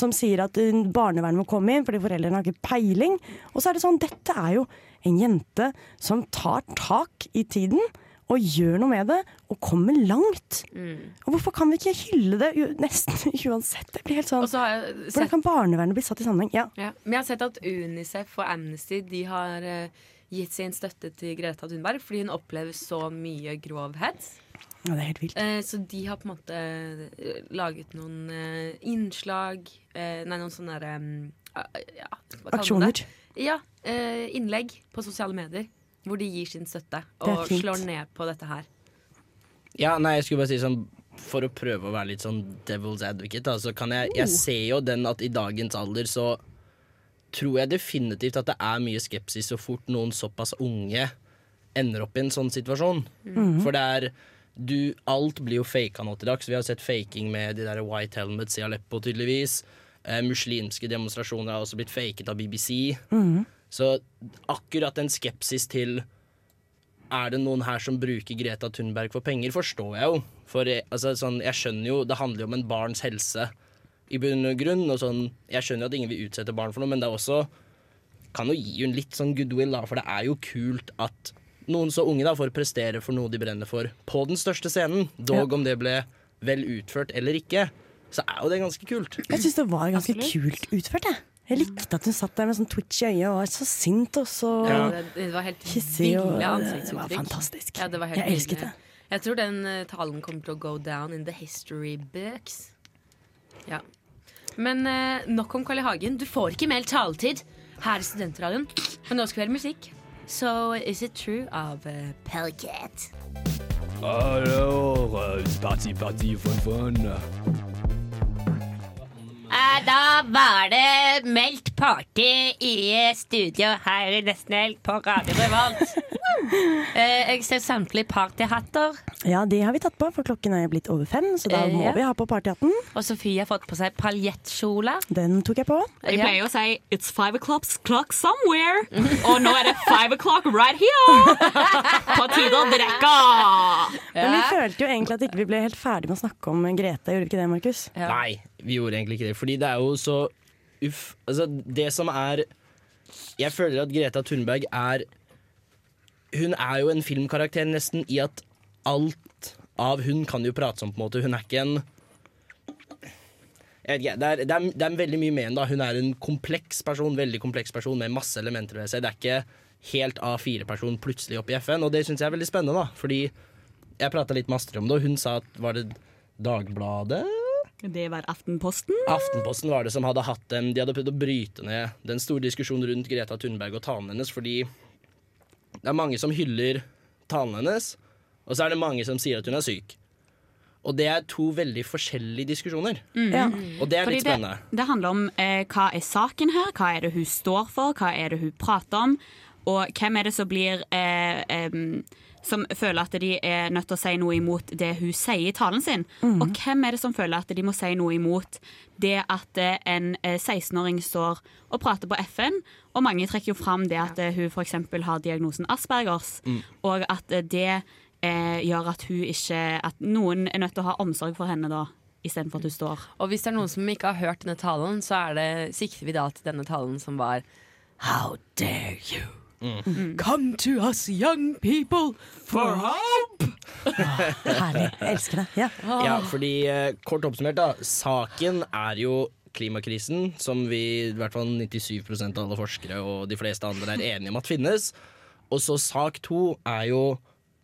som sier at uh, barnevernet må komme inn fordi foreldrene har ikke peiling. Og så er det sånn, dette er jo en jente som tar tak i tiden og gjør noe med det, og kommer langt. Og hvorfor kan vi ikke hylle det u- nesten uansett? Det blir helt sånn
Og så har jeg
Hvordan
sett,
kan barnevernet bli satt i sammenheng? Ja.
ja. Men jeg har sett at Unicef og Amnesty De har eh, gitt sin støtte til Greta Thunberg fordi hun opplever så mye grov hets.
ja, det er helt vilt.
Eh, Så de har på en måte eh, laget noen eh, innslag eh, Nei, noen sånne derre mm, eh, ja, hva kaller man det?
Aksjoner.
Ja. eh, Innlegg på sosiale medier hvor de gir sin støtte
Det er
og
fint.
slår ned på dette her.
Ja, nei, jeg skulle bare si sånn For å prøve å være litt sånn devil's advocate, da, så kan jeg Jeg ser jo den at i dagens alder så tror jeg definitivt at det er mye skepsis så fort noen såpass unge ender opp i en sånn situasjon.
Mhm.
For det er du, Alt blir jo faka nå til dags. Vi har sett faking med de der White Helmets i Aleppo, tydeligvis. Eh, muslimske demonstrasjoner har også blitt faket av BBC. Så akkurat en skepsis til er det noen her som bruker Greta Thunberg for penger, forstår jeg jo. For jeg, altså, sånn, jeg skjønner jo, det handler jo om en barns helse i bunn og grunn. Og sånn, jeg skjønner jo at ingen vil utsette barn for noe, men det er også kan jo gi hun litt sånn goodwill, da. For det er jo kult at noen så unge da får prestere for noe de brenner for på den største scenen. Dog om det ble vel utført eller ikke, så er jo det ganske kult.
Jeg syns det var ganske kult utført, jeg. Jeg likte at hun satt der med sånn twitch i øyet og var så sint og så
Ja, det, det var helt
hissig. Og,
ville
det
ansiktsuttrykk.
var fantastisk.
Ja, det var helt
jeg elsket
ville.
det.
Jeg tror den eh, talen kommer til å go down in the history books. Ja. Men eh, nok om Karl I. Hagen. Du får ikke mer taletid her i Studentradioen. Men nå skal vi høre musikk. So Is It True av uh, Pellet.
Alors, euh, c'est parti, parti, fun, fun.
Mm.
Eh, Da var det meldt party i eh, studio her i Nesten Helg på Radio Revolt. Eh, Jeg ser samtlige partyhatter,
Ja, det har vi tatt på, for klokken er blitt over fem, så da
Eh,
må
ja.
vi ha på partyhatten.
og Sofie har fått på seg paljettkjole.
Den tok jeg på.
Jeg pleier
å si 'it's five o'clock clock somewhere', og nå er det five o'clock right here! På tide å drikke!
Men vi følte jo egentlig at ikke vi ikke ble helt ferdig med å snakke om Greta, gjorde vi ikke det, Markus?
Nei, vi gjorde egentlig ikke det. Fordi det er jo så uff Altså, det som er Jeg føler at Greta Thunberg er Hun er jo en filmkarakter nesten i at alt av hun kan jo prates om, på en måte. Hun er ikke en jeg vet ikke, det er, det, er, det er veldig mye med henne. da Hun er en kompleks person veldig kompleks person med masse elementer ved seg. Det er ikke helt A4-person plutselig opp i FN, og det syns jeg er veldig spennende. da Fordi jeg prata litt med Astrid om det, og hun sa at var det Dagbladet?
Det var Aftenposten.
Aftenposten var det som hadde hatt dem. De hadde prøvd å bryte ned den store diskusjonen rundt Greta Thunberg og talen hennes, fordi det er mange som hyller talen hennes, og så er det mange som sier at hun er syk. Og det er to veldig forskjellige diskusjoner.
Mm.
Og det er
Fordi
litt spennende.
Det, det handler om eh, hva er saken her, hva er det hun står for, hva er det hun prater om, og hvem er det som blir eh, em, som føler at de er nødt til å si noe imot det hun sier i talen sin. Og hvem er det som føler at de må si noe imot det at eh, en eh, 16-åring står og prater på FN, og mange trekker jo fram det at eh, hun f.eks. har diagnosen Aspergers,
Mm.
og at eh, det eh, gjør at hun ikke At noen er nødt til å ha omsorg for henne da, istedenfor at hun står.
Og hvis det er noen som ikke har hørt denne talen, så er det, sikter vi da til denne talen som var How dare you
Mm.
Mm-hmm.
come to us young people for hope!
Herlig. Jeg elsker det. Ja.
Ah.
Ah.
Ja, fordi eh, Kort oppsummert, da. Saken er jo klimakrisen, som vi i hvert fall 97 av alle forskere og de fleste andre er enige om at finnes. Og så sak to er jo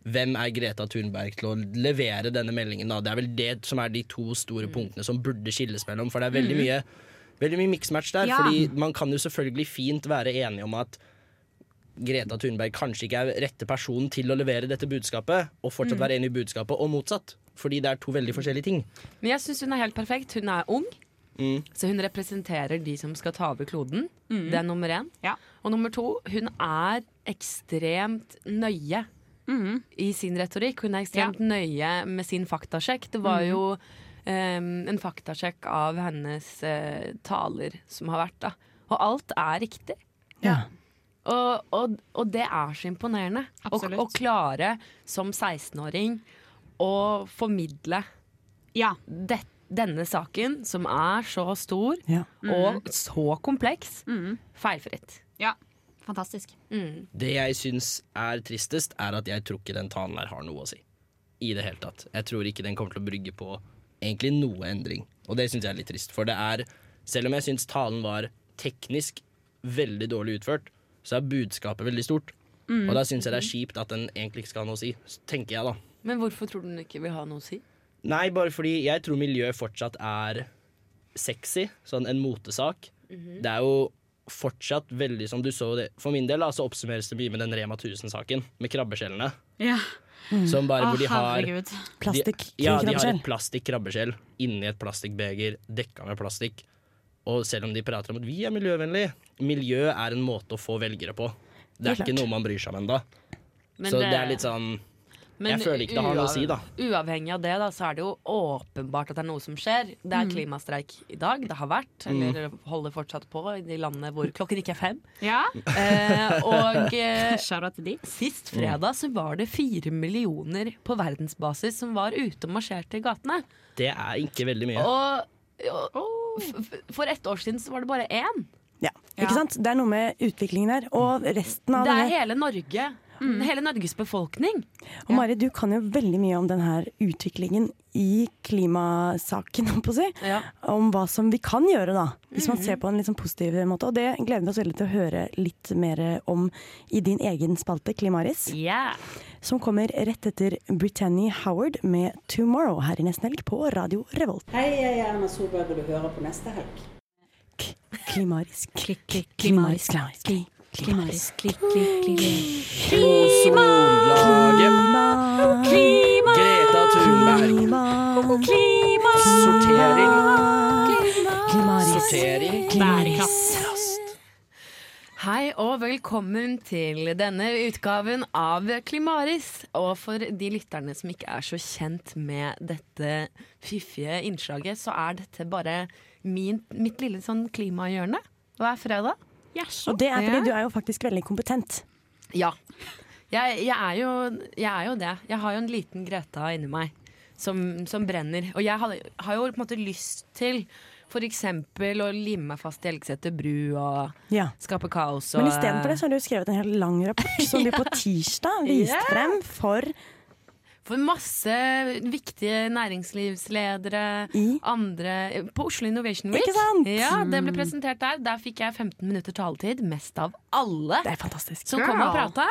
hvem er Greta Thunberg til å levere denne meldingen? da? Det er vel det som er de to store punktene som burde skilles mellom. For det er veldig
Mm.
mye, veldig mye mixmatch der.
Ja.
Fordi man kan jo selvfølgelig fint være enig om at Greta Thunberg kanskje ikke er rette personen til å levere dette budskapet, og fortsatt
Mm.
være enig i budskapet, og motsatt. Fordi det er to veldig forskjellige ting.
Men jeg syns hun er helt perfekt. Hun er ung,
Mm.
så hun representerer de som skal ta over kloden.
Mm.
Det er nummer én. Og nummer to, hun er ekstremt nøye i sin retorikk. Hun er ekstremt nøye med sin faktasjekk. Det var
Mhm.
jo em, en faktasjekk av hennes eh, taler som har vært, da. Og alt er riktig. Og, og, og det er så imponerende. Å
Absolutt.
å klare som 16-åring å formidle det, denne saken, som er så stor og så kompleks, feilfritt.
Mm.
Mm.
Ja, fantastisk.
Det jeg syns er tristest, er at jeg tror ikke den talen her har noe å si. I det hele tatt. Jeg tror ikke den kommer til å brygge på egentlig noe endring. Og det syns jeg er litt trist. For det er, selv om jeg syns talen var teknisk veldig dårlig utført, så er budskapet veldig stort.
Mm.
Og da syns jeg det er kjipt at den egentlig ikke skal ha noe å si. Tenker jeg, da.
Men hvorfor tror du hun ikke vil ha noe å si?
Nei, bare fordi jeg tror miljø fortsatt er sexy. Sånn en motesak.
Mm-hmm.
Det er jo fortsatt veldig som du så det For min del da, så oppsummeres det mye med den Rema 1000-saken med krabbeskjellene.
Ja.
Som bare hvor de har
Plastikk
de, Ja, de har
krabbeskjell.
et plastikk krabbeskjell inni et plastikkbeger dekka med plastikk. Og selv om de prater om at vi er miljøvennlige, miljø er en måte å få velgere på. Det er
Helt
ikke
klart.
noe man bryr seg om ennå.
Men
Så
det-
det er litt sånn Jeg føler ikke det har noe å si, da.
uav- Uavhengig av det, da, så er det jo åpenbart at det er noe som skjer. Det er
Mm.
klimastreik i dag. Det har vært,
Mm.
eller holder fortsatt på, i de landene hvor klokken ikke er fem.
Ja.
Eh, og eh,
sist
fredag så var det fire millioner på verdensbasis som var ute og marsjerte i gatene.
Det er ikke veldig mye.
Og,
Oh.
og f- f- for ett år siden så var det bare én.
Ja, ikke sant? Det er noe med utviklingen her. Og resten av
Det er
denne-
hele Norge.
Mm.
Hele Norges befolkning.
Og Mari, du kan jo veldig mye om denne utviklingen i klimasaken, holdt på å si. Om hva som vi kan gjøre, da. Hvis man
Mhm.
ser på en litt sånn positiv måte. Og det gleder vi oss veldig til å høre litt mer om i din egen spalte, Klimaris. Som kommer rett etter Britannia Howard med 'Tomorrow' her i Nesten Helg på Radio Revolt.
Hei, jeg er Erna Solberg, og du hører på neste helg.
Klimaris.
klimaris,
klimaris, klimaris,
Ozonlaget. Greta Thunberg. Sortering.
Sortering. Hei og velkommen til denne utgaven av Klimaris. Og for de lytterne som ikke er så kjent med dette fiffige innslaget, så er dette bare min, mitt lille sånn klimahjørne hver fredag.
Og det er fordi
Ja.
du er jo faktisk veldig kompetent.
Ja. Jeg, jeg, er jo, jeg er jo det. Jeg har jo en liten Greta inni meg som, som brenner. Og jeg har, har jo på en måte lyst til f.eks. å lime meg fast i Elgeseter bru og
Ja.
skape kaos. Og,
Men istedenfor det så har du skrevet en helt lang rapport som du på tirsdag viste
Ja. Sånn,
frem for
For masse viktige næringslivsledere, andre På Oslo Innovation Week.
Ikke sant?
Ja, Det ble
Mm.
presentert der. Der fikk jeg 15 minutter taletid, mest av alle
Det er fantastisk.
som kom og
Girl.
prata.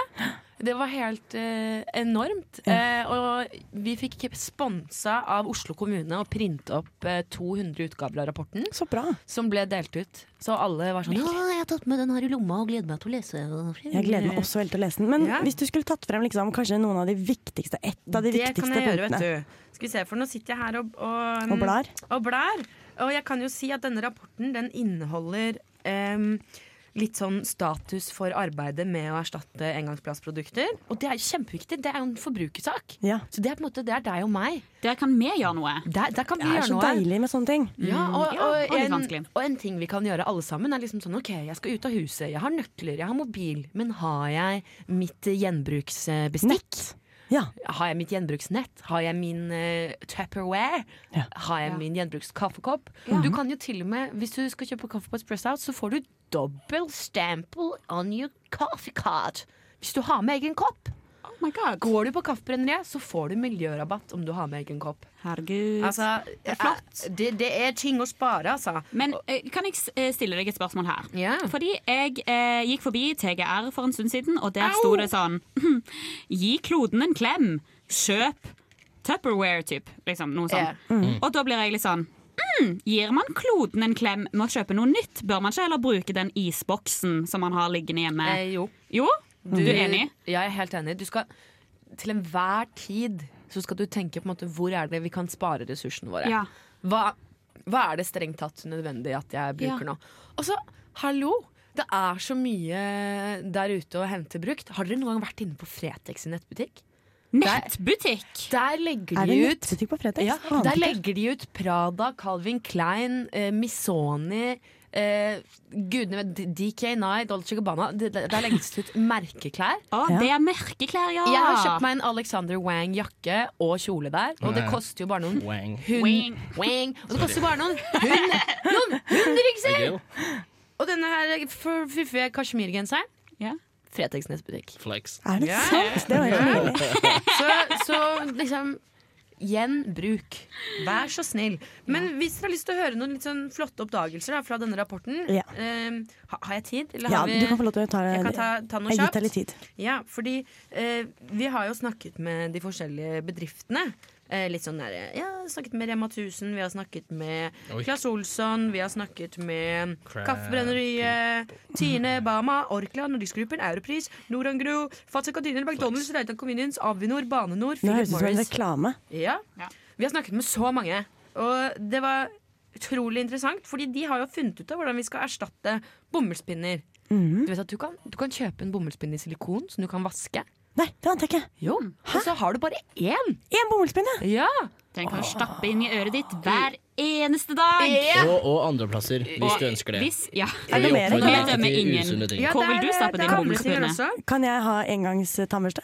Det var helt eh, enormt. Eh, og vi fikk sponsa av Oslo kommune å printe opp eh, 200 utgaver av rapporten.
Så bra
Som ble delt ut. Så alle var sånn Ja, jeg har tatt med den her i lomma og gleder meg til å lese.
Jeg gleder meg også veldig til å lese den. Men
Ja.
hvis du skulle tatt frem liksom, kanskje noen av de viktigste, ett av de
Det
viktigste
kan jeg gjøre,
punktene.
vet du. Skal vi se, for nå sitter jeg her og, og,
Og blar.
Og blar. Og jeg kan jo si at denne rapporten den inneholder em, litt sånn status for arbeidet med å erstatte engangsplastprodukter. Og det er jo kjempeviktig. Det er jo en forbrukersak.
Ja.
Så det er på en måte det er deg og meg.
Der kan vi gjøre noe.
Der, kan vi
Det er
gjøre
så
noe.
deilig med sånne ting.
Ja, og,
Mm. Ja, og
og,
litt
en,
vanskelig.
og en ting vi kan gjøre alle sammen, er liksom sånn OK, jeg skal ut av huset, jeg har nøkler, jeg har mobil, men har jeg mitt eh, gjenbruksbestikk? Har jeg mitt gjenbruksnett? Har jeg min eh, Tupperware? Har jeg min gjenbrukskaffekopp? Du kan jo til og med, hvis du skal kjøpe kaffe på Espresso House, så får du dobbel stample on your coffee card. Hvis du har med egen kopp.
Oh
Går du på Kaffebrenneriet, så får du miljørabatt om du har med egen kopp.
Herregud.
Altså,
det er flott.
Det, er ting å spare, altså.
Men eh, kan jeg s- eh, stille deg et spørsmål her? Fordi jeg eh, gikk forbi TGR for en stund siden, og der sto det sånn Gi kloden en klem. Kjøp Tupperware, typ. Liksom, noe sånt.
Ja. Mm.
Og da blir jeg litt sånn mm, Gir man kloden en klem med å kjøpe noe nytt? Bør man ikke heller bruke den isboksen som man har liggende hjemme?
Eh, jo.
Jo? Du, er enig?
Mm. Jeg er helt enig. Du skal til enhver tid så skal du tenke på en måte hvor er det vi kan spare ressursene våre.
Ja.
Hva, hva er det strengt tatt nødvendig at jeg bruker
Ja.
nå? Og så, hallo! Det er så mye der ute å hente brukt. Har dere noen gang vært inne på Fretex i nettbutikk?
Nettbutikk?
Der, der legger
Er
de
det
ut
nettbutikk på Fretex?
ja,
Aner
der
ikke.
legger de ut Prada, Calvin Klein, eh, Missoni eh, Gudene vet DK9, Dolce Gabbana. Det- det- Der legges det ut merkeklær.
Å, Ah, det er merkeklær, ja!
Jeg har kjøpt meg en Alexander Wang-jakke og kjole der, og det koster jo bare noen
Wang.
hun, Wang. Og det koster bare noen hun, noen hundrings! Og denne her f- fiffige kasjmirgenseren. Fretex nettbutikk.
Flex.
Er det Ja. sant? Det var helt
nydelig.
Så, så liksom Gjenbruk. Vær så snill. Men hvis dere har lyst til å høre noen litt sånn flotte oppdagelser da, fra denne rapporten
Ja.
ehm, ha- Har jeg tid? Eller
Ja,
har vi
du kan få lov til å ta,
Jeg kan ta, ta noe
Jeg har gitt
kjapt?
deg litt tid.
Ja, fordi eh, vi har jo snakket med de forskjellige bedriftene. Eh, litt sånn der, ja, Snakket med Rema 1000, vi har snakket med
Oi.
Claes Olsson, vi har snakket med
Crap
Kaffebrenneriet, eh, Tine, Bama, Orkla, Norgesgruppen, Europris, Noran Gro, Fatse Kantiner, McDonald's, Reitan Convenience, Avinor, Bane Nor,
Nå
Philip
høres det ut som en
Morris.
reklame.
Ja. Vi har snakket med så mange. Og det var utrolig interessant, fordi de har jo funnet ut av hvordan vi skal erstatte bomullspinner.
Mhm.
Du vet at du kan, du kan kjøpe en bomullspinne i silikon som du kan vaske.
Nei, det ante jeg ikke.
Jo, Og så har du bare én.
Én bomullspinne?
Ja. Ah.
Den kan du stappe inn i øret ditt hver eneste dag.
Og, og andreplasser, hvis du ønsker det.
Hvis, ja.
Er det
Vi
mer enn
oppfordrer
det?
deg til
Til
usunne ting.
usunne ting. Ja,
Hvor
det
vil du
er-
stappe
det
din
er
bomullspinne?
gamle ting også.
Kan jeg ha engangs eh, tannbørste?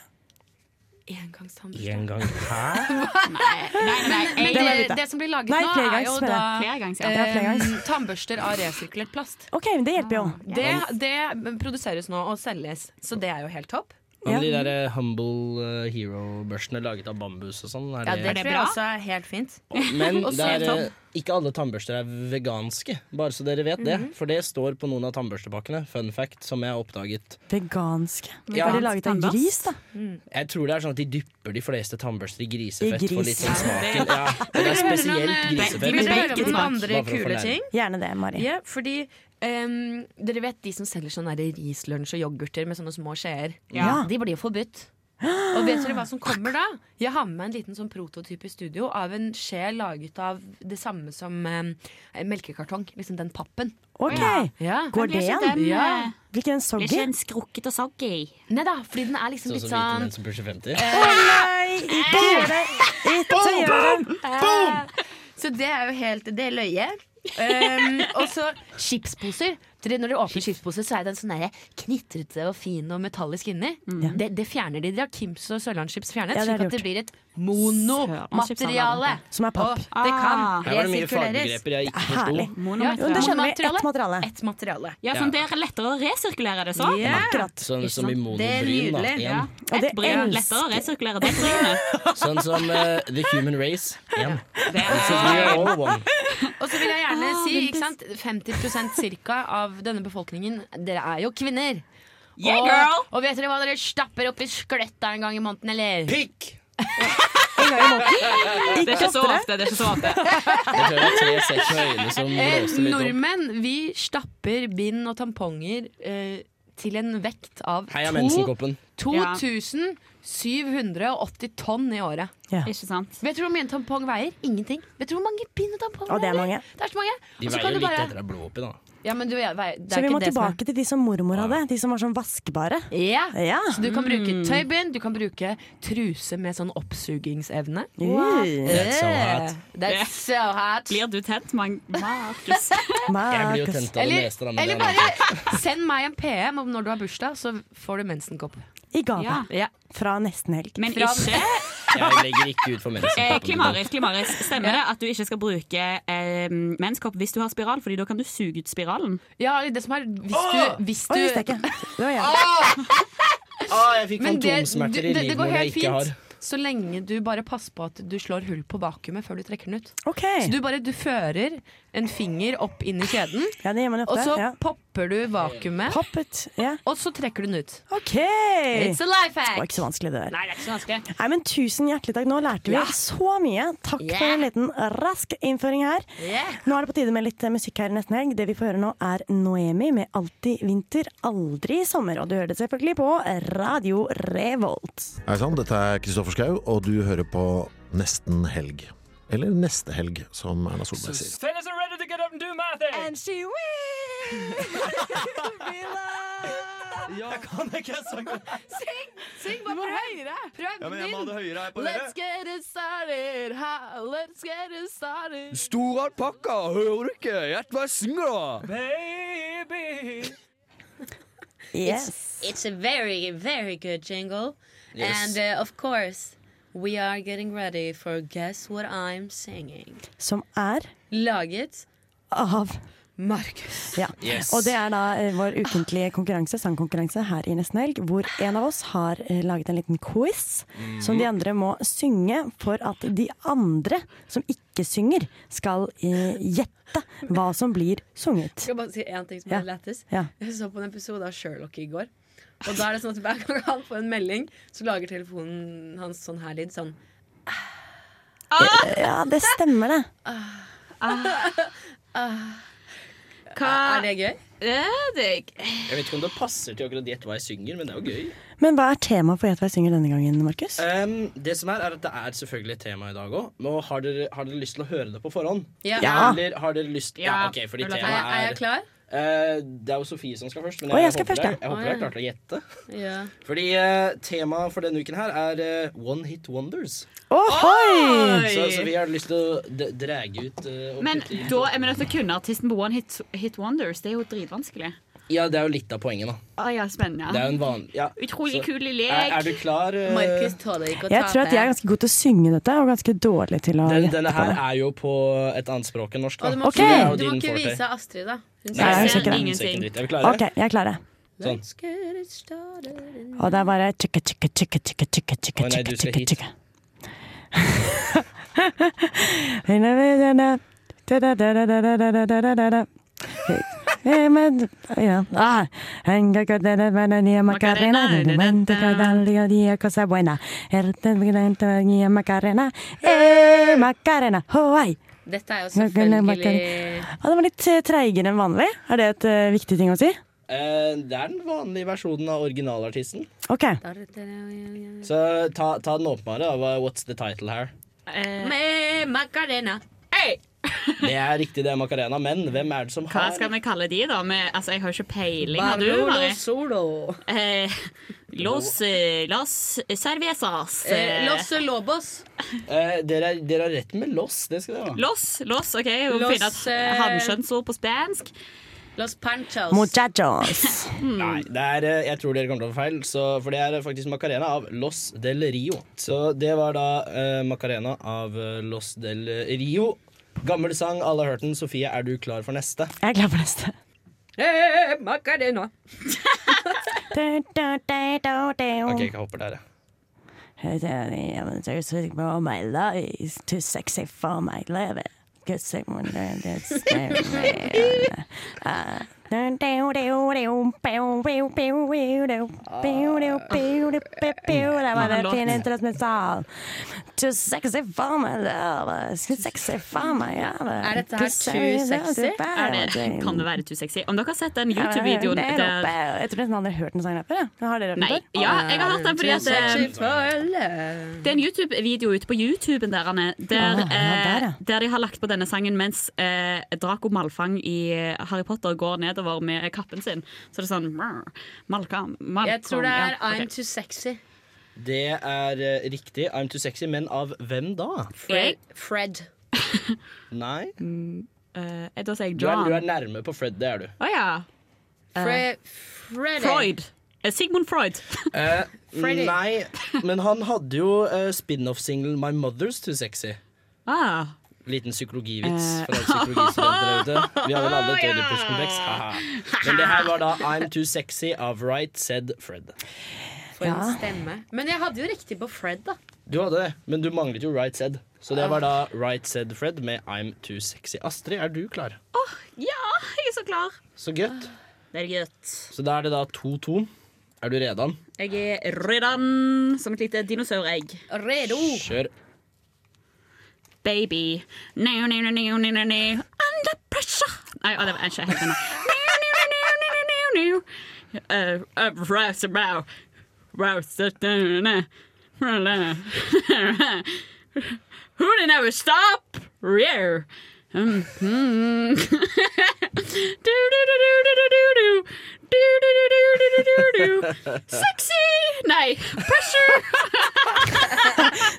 En gang her
Men,
nei,
men
det må jeg
det,
vite.
det som blir laget
Nei,
nå, er
flergangs,
jo
mener
da
jeg. Flergangs, ja. Ja, flergangs.
eh, tannbørster av resirkulert plast. Ah,
OK, men det hjelper jo.
Det, det produseres nå og selges, så det er jo helt topp.
Hva med de der eh, Humble eh, Hero-børstene laget av bambus og sånn? Er
Ja, det
det-
tror jeg også er helt fint.
Men
Og
det er,
så-
eh, ikke alle tannbørster er veganske, bare så dere vet det.
Mhm.
For det står på noen av tannbørstepakkene. Fun fact som jeg har oppdaget.
Veganske.
Ja.
Er de laget av gris, da?
Mm.
Jeg tror det er sånn at de dypper de fleste tannbørster i grisefett
I
for
gris.
litt sånn smaken. Ja, og det er
Vil dere høre noen,
spesielt
eh,
grisefett.
vil dere høre noen andre
Bare for å
kule
fornærme.
ting?
Gjerne det, Mari.
Ja, fordi ehm, dere vet de som selger sånne der rislunsj og yoghurter med sånne små skjeer?
Ja.
De blir jo forbudt. Og vet dere hva som kommer da? Jeg har med meg en liten sånn prototyp i studio av en skje laget av det samme som ehm, melkekartong. Liksom den pappen.
OK.
Ja.
Går det igjen?
Ja.
Blir ikke eh, den soggy?
skrukkete og soggy? Nei da, fordi den er
Sånn
liksom litt
som hvite
sånn
menn som pusher 50.
Eh,
Ikke gjør det! Ikke gjør det!
Eh, Så det er jo helt Det er løye. Um, og så chipsposer. Dere, når dere åpner chipsposer, så er den sånn der knitrete og fin og metallisk inni. Det, det fjerner de. De har Kims og Sørlandschips fjernet,
Mm. Ja, det er
slik at
lurt.
det blir et monomateriale.
Som er papp.
Og det kan
Ah.
Her var det mye
resirkuleres.
fagbegreper jeg ikke
Herlig.
forsto.
Ja,
Jo, det skjønner vi. Ett materiale.
Et materiale.
Ja, sånn det er lettere å resirkulere det sånn.
Ja.
Sånn som i
Det er
monobryn, da.
nydelig.
Igjen.
Et bryn. Lettere å resirkulere det brynet.
Sånn som eh, The Human Race. Igjen. So we are all one.
Og så vil jeg gjerne
Ah,
si
veldig
ikke sant? 50 cirka av denne befolkningen Dere er jo kvinner.
Yeah,
og,
girl!
og vet dere hva dere stapper oppi skjeletta en gang i måneden, eller?
Pikk!
en gang i
Det er ikke så ofte. Det er ikke så ofte.
Jeg tror det var tre sett med øyne som blåste litt opp.
Eh, nordmenn, vi stapper bind og tamponger eh, til en vekt av
Heia
to-
mensenkoppen.
2780 tonn i året.
Ja.
Ikke sant?
Vet du hvor mye en tampong veier? Ingenting. Vet du hvor mange bind og tamponger
Og det er mange.
Det er så mange.
De
Og så
veier
kan
jo
du
litt
bare-
etter det er blod oppi, da.
Ja, men du, jeg, vei- det er
Så vi
ikke
må
det som er-
tilbake til de som mormor hadde. De som var sånn vaskbare.
Ja.
Ja. Mm.
Så du kan bruke tøybind, du kan bruke truse med sånn oppsugingsevne.
Ooh, that's so hot.
Eh, That's so hot.
Blir du tent, Mang- Markus?
Jeg blir jo tent av det
Eller,
meste, da. men
eller
det er noe.
bare send meg en PM om når du har bursdag, så får du mensenkopp.
I gave.
Ja.
Fra nesten helg.
Men
Fra-
ikke
Jeg legger ikke ut for
eh,
mensenkoppen.
Klimaris, klimaris. Stemmer det at du ikke skal bruke eh, menskopp hvis du har spiral, Fordi da kan du suge ut spiralen?
Ja, det som er Hvis du, hvis du
Oi, visste jeg ikke. Det var jeg.
Ah, jeg fikk
Men det,
fantomsmerter i
det, det går
livmoren jeg
helt
ikke har.
fint. Så lenge du bare passer på at du slår hull på vakuumet før du trekker den ut.
Ok.
Så du bare du fører en finger opp inn i kjeden,
Ja, det gjør man jo
og
ofte.
så
Ja.
popper du vakuumet,
Poppet. Ja.
og så trekker du den ut.
OK!
It's
Det
a life
var
hack!
ikke så vanskelig, det der.
Nei, det er ikke så vanskelig.
Nei, men Tusen hjertelig takk. Nå lærte vi
Ja.
så mye. Takk
Yeah.
for en liten rask innføring her. Nå er det på tide med litt eh, musikk her i nesten helg. Det vi får høre nå, er Noemi med 'Alltid vinter, aldri sommer'. Og du hører det selvfølgelig på Radio Revolt.
Hei sann, dette er Kristoffer Schau, og du hører på Nesten helg. Eller Neste helg, som Erna Solberg sier.
Fellas are ready to get up and do my thing. And she
Jeg kan ikke sangen.
Syng! Syng,
Du
bare
må
prøv!
høyere.
Prøv
Ja, men jeg må ha det høyere her på dere.
Let's get it started, ha, let's get it started.
Stor alpakka, hører du ikke? Gjett hva jeg synger, da!
Baby!
Yes.
It's, it's a very, very good jingle.
Yes.
And uh, of course, we are getting ready for Guess What I'm Singing.
Som er
Laget
av
Markus.
Ja.
Yes.
Og det er da eh, vår ukentlige konkurranse, sangkonkurranse her i Nesten Helg, hvor en av oss har eh, laget en liten quiz
Mm.
som de andre må synge for at de andre som ikke synger, skal eh, gjette hva som blir sunget.
Skal jeg bare si én ting som
Ja.
er lættis?
Ja.
Jeg så på en episode av Sherlock i går. Og da er det sånn at hver gang han får en melding, så lager telefonen hans sånn her lyd. Sånn. Ah!
Ja, det stemmer det.
Er det gøy?
det
Jeg vet ikke om det passer til akkurat gjette hva jeg synger, men det er jo gøy.
Men hva er temaet for Gjet hva jeg synger denne gangen, Markus?
Em, det som er, er at det er selvfølgelig et tema i dag òg. Men har dere, har dere lyst til å høre det på forhånd?
Ja. Ja.
Eller har dere lyst Ja, ok, fordi
Er jeg-
temaet er
er jeg klar?
Eh, det er jo Sofie som skal først. Men
Å,
jeg,
jeg skal
håper
først,
dere-
ja.
jeg håper
Å,
dere
ja.
klarte å gjette. Fordi eh, temaet for denne uken her er eh, One Hit Wonders.
Ohoi!
Så, så vi har lyst til å d- drage ut eh, og
Men
putte inn-
da er vi nødt til å kunne artisten på One Hit, hit Wonders. Det er jo dritvanskelig.
Ja, det er jo litt av poenget, da.
Å ja, spennende.
Det er jo en vanlig ja.
Utrolig
så-
kul i lek.
Er, er du klar? eh,
tåler ikke
Jeg tror at jeg er ganske god til å synge dette, og ganske dårlig til å
Den,
gjette
denne
på
her
det.
er jo på et annet språk enn norsk.
Og
Da.
du må
Så det er jo
ikke-
Du må
din
ikke
forte.
vise Astrid, da. Hun
Nei, jeg ser ikke det.
Hun ser ikke dritt. Er vi klare?
OK, jeg er klare.
Sånn.
Og det er bare tjekka, tjekka, tjekka, tjekka, tjekka,
Å
tjekka,
nei, du
tjekka,
skal
tjekka,
hit.
tjekka. Hei, nei, nei, nei, nei. Da, da, da, da, da, da, da, da, da, da, da. Hei, hei, men- ja. Ah. En gang kan dere være nye Macarena, du venter på deilige og de er cosa buena. Helt til vi venter på nye Macarena. Hey, Macarena, hoai.
Dette er jo
Macarena,
selvfølgelig
Macarena. Ah, det var litt eh, treigere enn vanlig. Er det et eh, viktig ting å si?
Eh, det er den vanlige versjonen av originalartisten.
OK.
Så ta, ta den åpenbare. da. Hva- What's the title her?
Eh.
Med Macarena. Hey!
Det er riktig, det er Macarena, men hvem er det som
Hva
har
skal vi kalle de, da? Vi- altså, jeg har jo ikke peiling. Har du,
Barolo
Mari?
Solo.
Eh, los, eh, las cervezas.
Eh, Los
los,
Lobos.
Eh, dere, er- dere har rett med loss, det skal dere ha.
los, OK. Jeg må
Los,
finne et
eh,
hanskjønnsord på spansk.
Los Panchos.
Muchachos.
Nei, det er, eh, jeg tror dere kommer til å få feil, så, for det er faktisk Macarena av Los del Rio. Så det var da eh, Macarena av eh, Los del Rio. Gammel sang, alle har hørt den. Sofie, er du klar for neste?
Jeg er klar for neste.
Eh, Macarena.
Ok,
Okay,
jeg hopper der, jeg.
for my love is too sexy for my love. Cause someone done this to me. Uh, dun, dun, dun, dun, pew, pew, pew, pew, dun, pew, dun, pew, dun, pew, pew.
Mm.
Det var den fine introsmissal. Too sexy for my love. Too sexy for my love.
Er dette her
Cause
too
someone done
sexy?
this to
Er det-
me.
kan det være too sexy? Om dere har sett den
Ja, men jeg
YouTube-videoen
hører den
der
oppe. Jeg tror nesten aldri jeg har hørt den sangen her før. jeg. Har dere hørt
Nei.
den før?
Ja, jeg har hørt den fordi at eh, Det er en YouTube-video ute på YouTuben der, Anne, der,
Ah, ja, der, ja.
eh, der de har lagt på denne sangen mens eh, Draco Malfang i eh, Harry Potter går nedover med kappen sin. Så det er sånn "Mrr, Malcolm, Malcolm
Jeg tror det er
ja, ok.
I'm too sexy.
Det er eh, riktig. I'm too sexy, men av hvem da?
Fred. Fred.
Nei?
da sier jeg
Du er,
Mm, eh, John.
du er nærme på Fred, det er du.
Å ja. Eh,
Fre Freddy.
Freud. Eh, Sigmund Freud.
Eh,
Freddy.
nei, men han hadde jo eh, spin-off-singelen My Mother's Too Sexy.
Ah.
Liten psykologivits
Eh.
fra psykologistudenter der ute. Vi har vel alle et Oedipus-kompleks. haha. Men det her var da I'm Too Sexy av Right Said Fred.
For en stemme. Men jeg hadde jo riktig på Fred, da.
Du hadde det, men du manglet jo Right Said. Så det var da Right Said Fred med I'm Too Sexy. Astrid, er du klar?
Ja, jeg er så klar.
Så godt.
Det er gutt.
Så da er det da 2-2. Er du redan?
Jeg er redan som et lite dinosauregg.
Redo.
Kjør.
Baby. No, no, no, no, no, no, no. Under pressure. oh, Nei, å, det var ikke helt denne. No, no, no, no, no, no, no. Uh, uh, rouse about. Rouse it down. Who did never stop? Rare. Mm -hmm. do do do do do do do do do do do do do do do do sexy nei pressure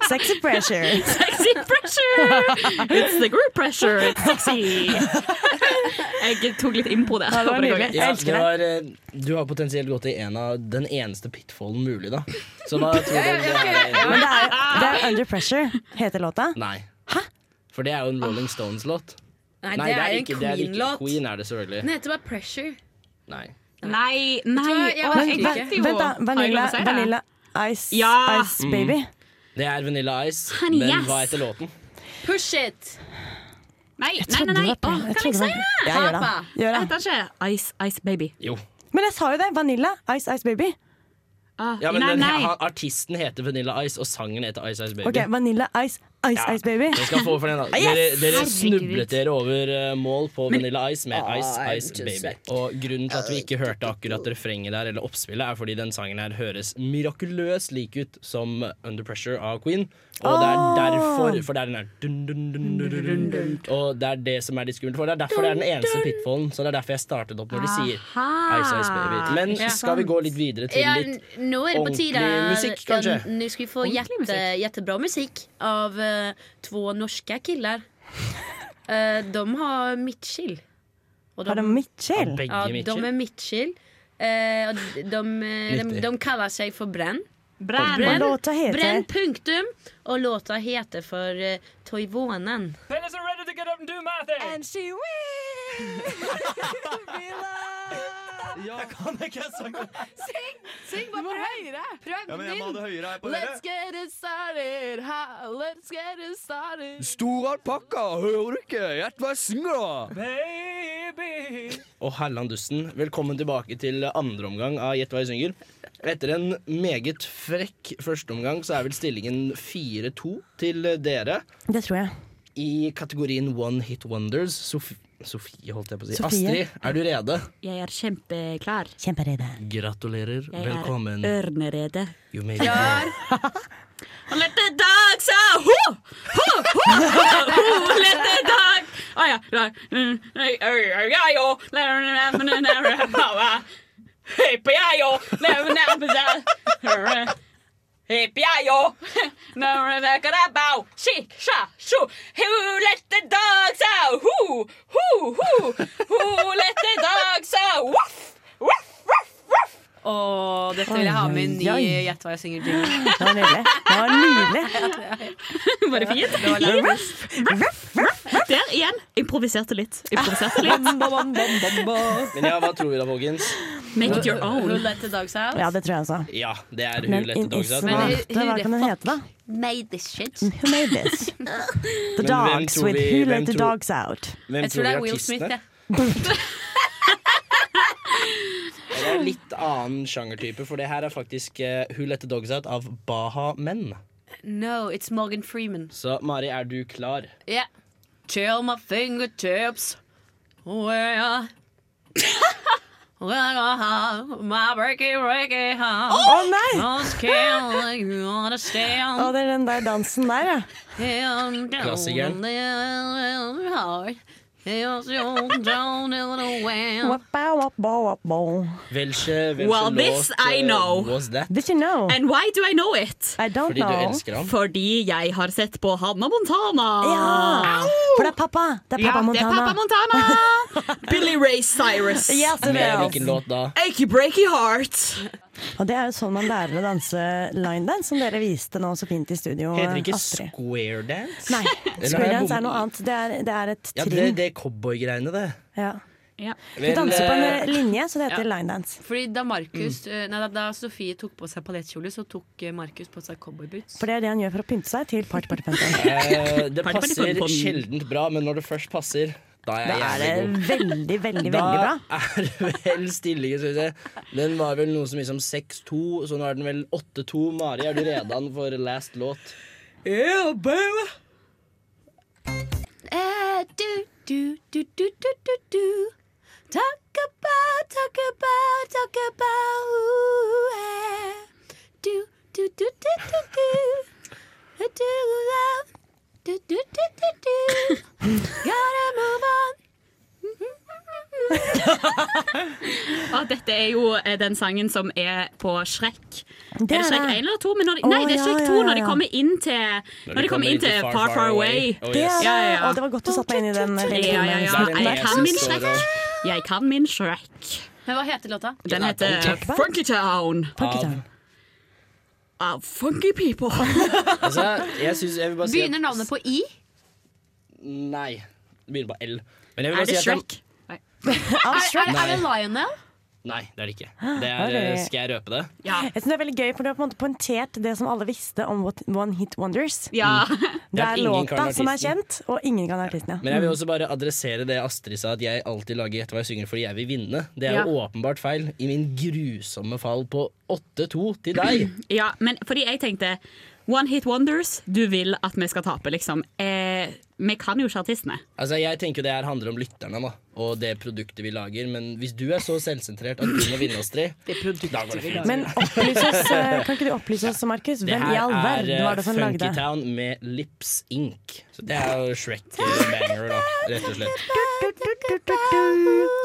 Sexy pressure.
Sexy pressure! It's the group pressure. It's sexy. Jeg tok litt impro der. Håper det går greit.
Ja, det var, eh, du har potensielt gått i en av den eneste pitfallen mulig, da. Så da tror jeg det er
Men det er, det er Under Pressure, heter låta.
Nei. For det er jo en Rolling Stones-låt.
Nei, det er en
ikke- det ikke-
Queen-låt.
Queen er det selvfølgelig.
Den heter bare Pressure.
Nei.
Nei, nei.
Vet du hva, jeg
Å,
vet
jeg
ikke.
vet jo.
Vent, da.
Har jeg lov
Vanilla,
å si det?
vanilla Ice,
Ja.
Ice Baby.
Mm. Det er Vanilla Ice,
Honey,
men
yes.
hva heter låten?
Push it!
Nei, nei, nei. nei.
det var
Å,
pen- jeg
kan jeg
trodde
si
det
det?
var- Ja, gjør det.
Papa.
Gjør det.
Heter den ikke Ice Ice Baby?
Jo.
Men jeg sa jo det! Vanilla Ice Ice Baby.
Ah,
Ja, men
nei,
den,
nei.
ha- Artisten heter Vanilla Ice, og sangen heter Ice Ice Baby.
Ok, Vanilla Ice, Ice Ice Baby.
Dere skal få for den, da.
Yes!
Dere, dere
Herregud.
snublet dere over eh, mål på
Men-
Vanilla Ice med Ice
I'm
Ice
just
Baby.
like-
Og grunnen til at vi ikke hørte akkurat refrenget der, eller oppspillet, er fordi den sangen her høres mirakuløst lik ut som Under Pressure av Queen. Og det er
Ah.
derfor For det er den der dun, dun, dun, dun, dun, dun, dun. Og det er det som er litt skummelt. For det er derfor det er den eneste pitfallen. Så det er derfor jeg startet opp når de sier
Aha.
Ice Ice Baby. Men
Ikke
skal vi
sant.
gå litt videre til
Ja,
litt
n- nå er det på tide
ordentlig musikk, kanskje?
Ja, Nå skal vi få
Ordentlig
jätte, jättebra musikk av eh, två norska killar. Eh, de har Mitchell. Och
Har de Mitchell? Har bägge
Ja,
Mitchell?
de är Mitchell. Eh, och de, de, eh, de,
Nyttig.
de kallar sig för Brenn.
Brenn. Och låta heter?
Brenn punktum. Och låta heter för uh, Toivonen.
Pennies are ready to get up and do my thing. And she
Jag kan inte sjunga.
Syng! Syng bare prøv. høyere. Prøv
Ja, men jeg må ha det høyere her på
Let's
øret.
get it started. Ha, let's get it started.
Stor alpakka, hører du ikke? Gjett hva jeg synger, da!
Baby.
og Herland Dusten, velkommen tilbake til andre omgang av Gjett hva jeg synger. Etter en meget frekk førsteomgang så er vel stillingen 4-2 til dere.
Det tror jeg.
I kategorien One Hit Wonders. Sof Sofie, holdt jeg på å si.
Sofie.
Astrid, er du rede?
Jeg er kjempeklar.
Kjemperede.
Gratulerer.
Jeg
Velkommen.
er ørnerede.
You may be
Klar.
born.
Let the dog say ho! Ho! Ho! ho, Let the dog Å ja. da, mm, nei, øy, øy, ja, jo, la, la, la, la, la, la, la, la, la. Hippe, ja, jo, la, la, la, la, la, la. Hippe, ja, jo. La, la, la, la, la, bao. Shi, sha, shu. Who let the dogs out? Who? Who? Who? Who let the dogs out? Woof!
Og dette vil jeg ha med i en ny
Oi, oi, oi.
Gjett hva jeg synger jingle.
Det var nydelig. Det var nydelig.
Var det fint? Der igjen. Improviserte litt. Improviserte litt.
Men ja, hva tror vi da, folkens?
Make it your own.
Who let the dogs out?
Ja, det tror jeg også.
Ja, det er
Men
hun lette
in-
dogsa.
Men hun- hun- Hva kan den hete, da?
Made this shit.
Who made this? The
Men hvem
dogs
tror
with
vi-
Who
hvem
let the
tror-
dogs out?
Hvem
Jeg tror det er Will Smith, jeg.
Det er litt annen sjangertype, for det her er faktisk eh, Who Let The Dogs Out av Baha Men.
No, it's Morgan Freeman.
Så Mari, er du klar?
Yeah. Chill my fingertips. Where I... Where I have my breaky, breaky heart.
Å, nei!
Those can't you understand.
Å, det er den der dansen der, ja.
Klassikeren.
Wappa, wappa, wappa.
Welche, welche
Well, this
låt,
I
eh,
know.
was that?
Did you know?
And why do I know it?
Fordi du know. elsker ham.
Fordi jeg har sett på Hannah Montana.
Ja, for det er pappa. Det er
Ja,
pappa
det er pappa
Montana.
Montana. Billy Ray Cyrus.
Ja, så det er Med hvilken
låt da?
Achy Breaky Heart.
Og det er jo sånn man lærer å danse line dance, som dere viste nå så fint i studio.
Heter det ikke
Astrid.
square dance?
Nei,
Eller har
square
jeg
dance
bom-
er noe annet. Det er, det er et
Ja,
trinn.
det det er cowboygreiene, det.
Ja.
Vel,
Du danser på
eh,
en linje, så det heter
Ja.
line dance.
Fordi da Markus eh, Nei, da, da Sofie tok på seg paljettkjole, så tok eh, Markus på seg cowboyboots.
For det er det han gjør for å pynte seg til party, party,
Eh,
party.
det passer sjeldent bra, men når det først passer, da er jeg
Da er det
jævlig god.
veldig, veldig, veldig bra.
Da er det vel stillingen, skal vi se. Den var vel noe som gikk som 6-2, så nå er den vel 8-2. Mari, er du redan for last låt?
Yeah, baby! Eh, du, du, du, du, du, du, du. Talk about, talk about, talk about ooh, eh. Du, du, du, du, du, du. Eh, Du, love. Du, du, du, du, du. Gotta move on.
Ja, dette er jo eh, den sangen som er på Shrek.
Det
er det
er
Shrek
det.
1 eller 2? Men når de,
Å,
nei, det er
ja,
Shrek
ja,
2 når
ja,
de
ja.
kommer inn til, når de kommer inn til Far Far Away. Oh,
Det er det.
Ja, ja, ja.
Og det var godt du satte meg inn i den. lille
Ja, ja, ja.
filmen.
Jeg kan min Shrek. Jeg kan min Shrek.
Men hva heter låta?
Den heter Funkytown.
Funkytown.
Av funky people.
Altså, jeg synes, jeg vil bare si at-
Begynner navnet på I?
Nei. Det begynner på L. Men jeg vil
Er
bare
det
si at den-
Shrek? Er, er, er det Lionel?
Nei, det er det ikke. Det er, eh,
Ok.
skal jeg røpe det?
Jeg synes det er veldig gøy, for du har på en måte poengtert det som alle visste om What- One Hit Wonders.
Ja.
Mm. Det
Det er
er
ingen kan
låta som er
artisten.
kjent, og ingen kan artisten, ja.
Men jeg vil også bare adressere det Astrid sa, at jeg alltid lager Gjett hva jeg synger fordi jeg vil vinne. Det er jo åpenbart feil i min grusomme fall på 8-2 til deg.
Ja, men fordi jeg tenkte One hit wonders, du vil at vi skal tape, liksom. Eh, vi kan jo ikke artistene.
Altså, Jeg tenker jo det her handler om lytterne da og det produktet vi lager. Men hvis du er så selvsentrert at du må vinne, Astrid da går det fint.
Men opplys oss, eh, kan ikke du opplyse oss, Markus?
Det
Hvem i
her
all
er
verden var
eh,
det som lagde
Funky
det?
Town med Lips Ink. Så det er jo Shrek-banger, da, rett og slett.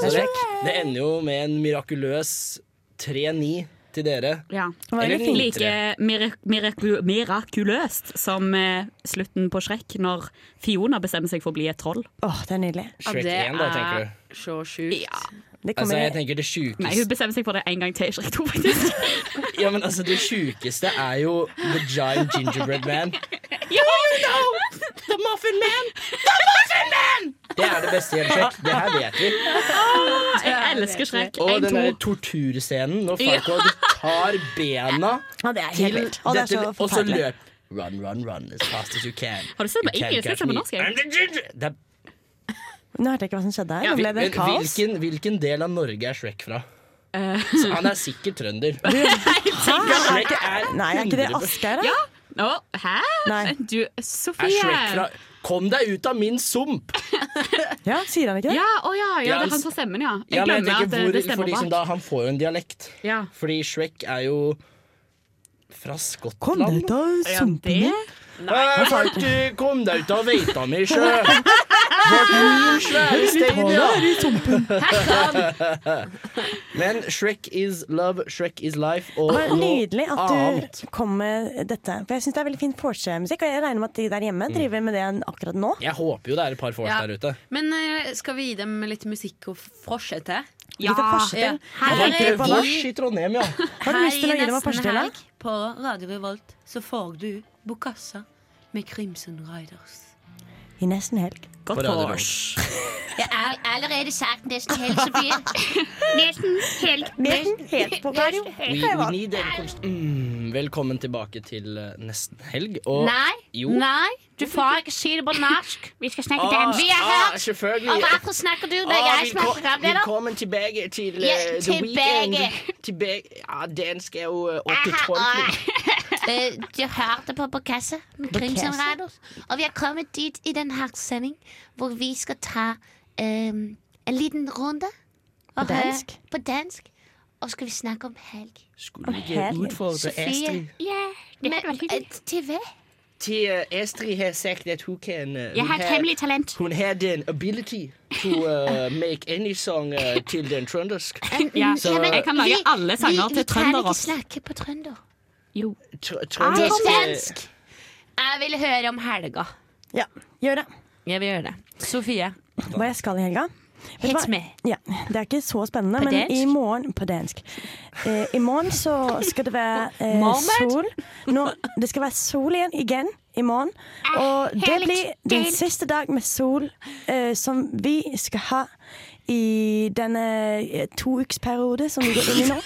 Så det, det ender jo med en mirakuløs 3-9 til dere.
Ja.
var
Eller
veldig fint.
like mirak miraku- mirakuløst som eh, slutten på Shrek, når Fiona bestemmer seg for å bli et troll.
Åh, det er nydelig.
Shrek 1, da, tenker du.
Så sjukt.
Det
Altså, jeg tenker det sjukeste
Nei, hun bestemmer seg for det en gang til i Shrek 2, faktisk.
Ja, men altså, det sjukeste er jo The Giant Gingerbread Man.
The Muffin Man! The Muffin Man!
Det er det beste i hele Shrek. Det her vet vi.
jeg elsker Shrek.
Og
En,
den
to.
der torturscenen når Farquaad tar bena
det er
til
helt vilt. Å, det er så
dette, og så
forferdelig.
løp Run, run, run as fast as you can.
Har du sett på
You can't
engelsk? Jeg
catch
ser på
me.
norsk, jeg.
I'm the ginger- Det er
Nå hørte jeg ikke hva som skjedde her. Nå ble det
Men
kaos.
Hvilken, hvilken del av Norge er Shrek fra?
Eh.
Så han er sikkert trønder. Shrek er
Nei, er ikke det
100%
Asgeir, da?
Ja. Nå, hæ? Du,
Er
Sofie.
Shrek fra Kom deg ut av min sump!
Ja, sier han ikke
Ja, å ja, ja, det er han som stemmer, ja. Jeg
Ja, men
glemmer at
tenker,
eh,
hvor-
det
for
stemmer
de som
bak.
da, Han får jo en dialekt.
Ja.
Fordi Shrek er jo fra Skottland.
Kom deg ut av sumpen min.
Nei, folk, eh, kom deg ut av veita mi, sjø! Vårt min svære stein, ja. Men Shrek is love, Shrek is life og
Det var
noe
nydelig at
annet.
du kom med dette. For jeg syns det er veldig fin vorsemusikk, og jeg regner med at de der hjemme driver med det akkurat nå.
Jeg håper jo det er et par vors
Ja.
der ute.
Men eh, skal vi gi dem litt musikk og forse til?
Ja. Litt av forse til?
Her
Det er
er
ikke vors i Trondheim, ja.
Har du lyst til å gi dem en forse til, da?
helg på Radio Revolt så får du Bokassa med Crimson Riders.
I nesten helg.
Godt På Radio Revolt. vors.
Jeg har allerede sagt nesten helt så blir Nesten helt
Nesten helt på radio.
We, we need a const- mm, velkommen tilbake til eh, nesten helg. Og
Nei,
jo Ah,
nei, du får ikke si det på norsk. Vi skal snakke dansk. Vi er her. Og hvorfor snakker du når jeg som er programleder?
Velkommen tilbake til
eh, Ja, The tilbake. Weeknd.
dansk er jo
ah, Eh, Du hørte på Bokassa med Crimson
Bokassa.
Rados. Og vi er kommet dit i den her sending hvor vi skal ta ehm, en liten runde. og høre
dansk?
På dansk. Og skal vi snakke om helg.
Skulle du ikke utfordre Astrid?
Ja, det Men, eh, til hva?
Til eh, Astrid har sagt at hun kan eh,
Jeg
hun
har et hemmelig talent.
Hun har den ability to eh, make any song eh, til den trøndersk. Mm.
Ja, men vi- vi- Vi kan
trøndeross.
ikke snakke på trønder.
Jo.
Tr-
Til
trøndersk, eh,
dansk. Jeg vil høre om helga.
Ja, gjør det.
Jeg vil gjøre det. Sofie.
Hva jeg skal i helga? Vet du
Hit
hva?
me.
Ja, det er ikke så spennende,
På
men
dansk?
i morgen På dansk. Eh, I morgen så skal det være eh,
Malmert?
sol. Nå, det skal være sol igjen, igjen i morgen.
Ah,
Og det
herlig.
blir den
Deilig.
siste dag med sol eh, som vi skal ha i denne eh, toukersperiode som vi går inn i nå.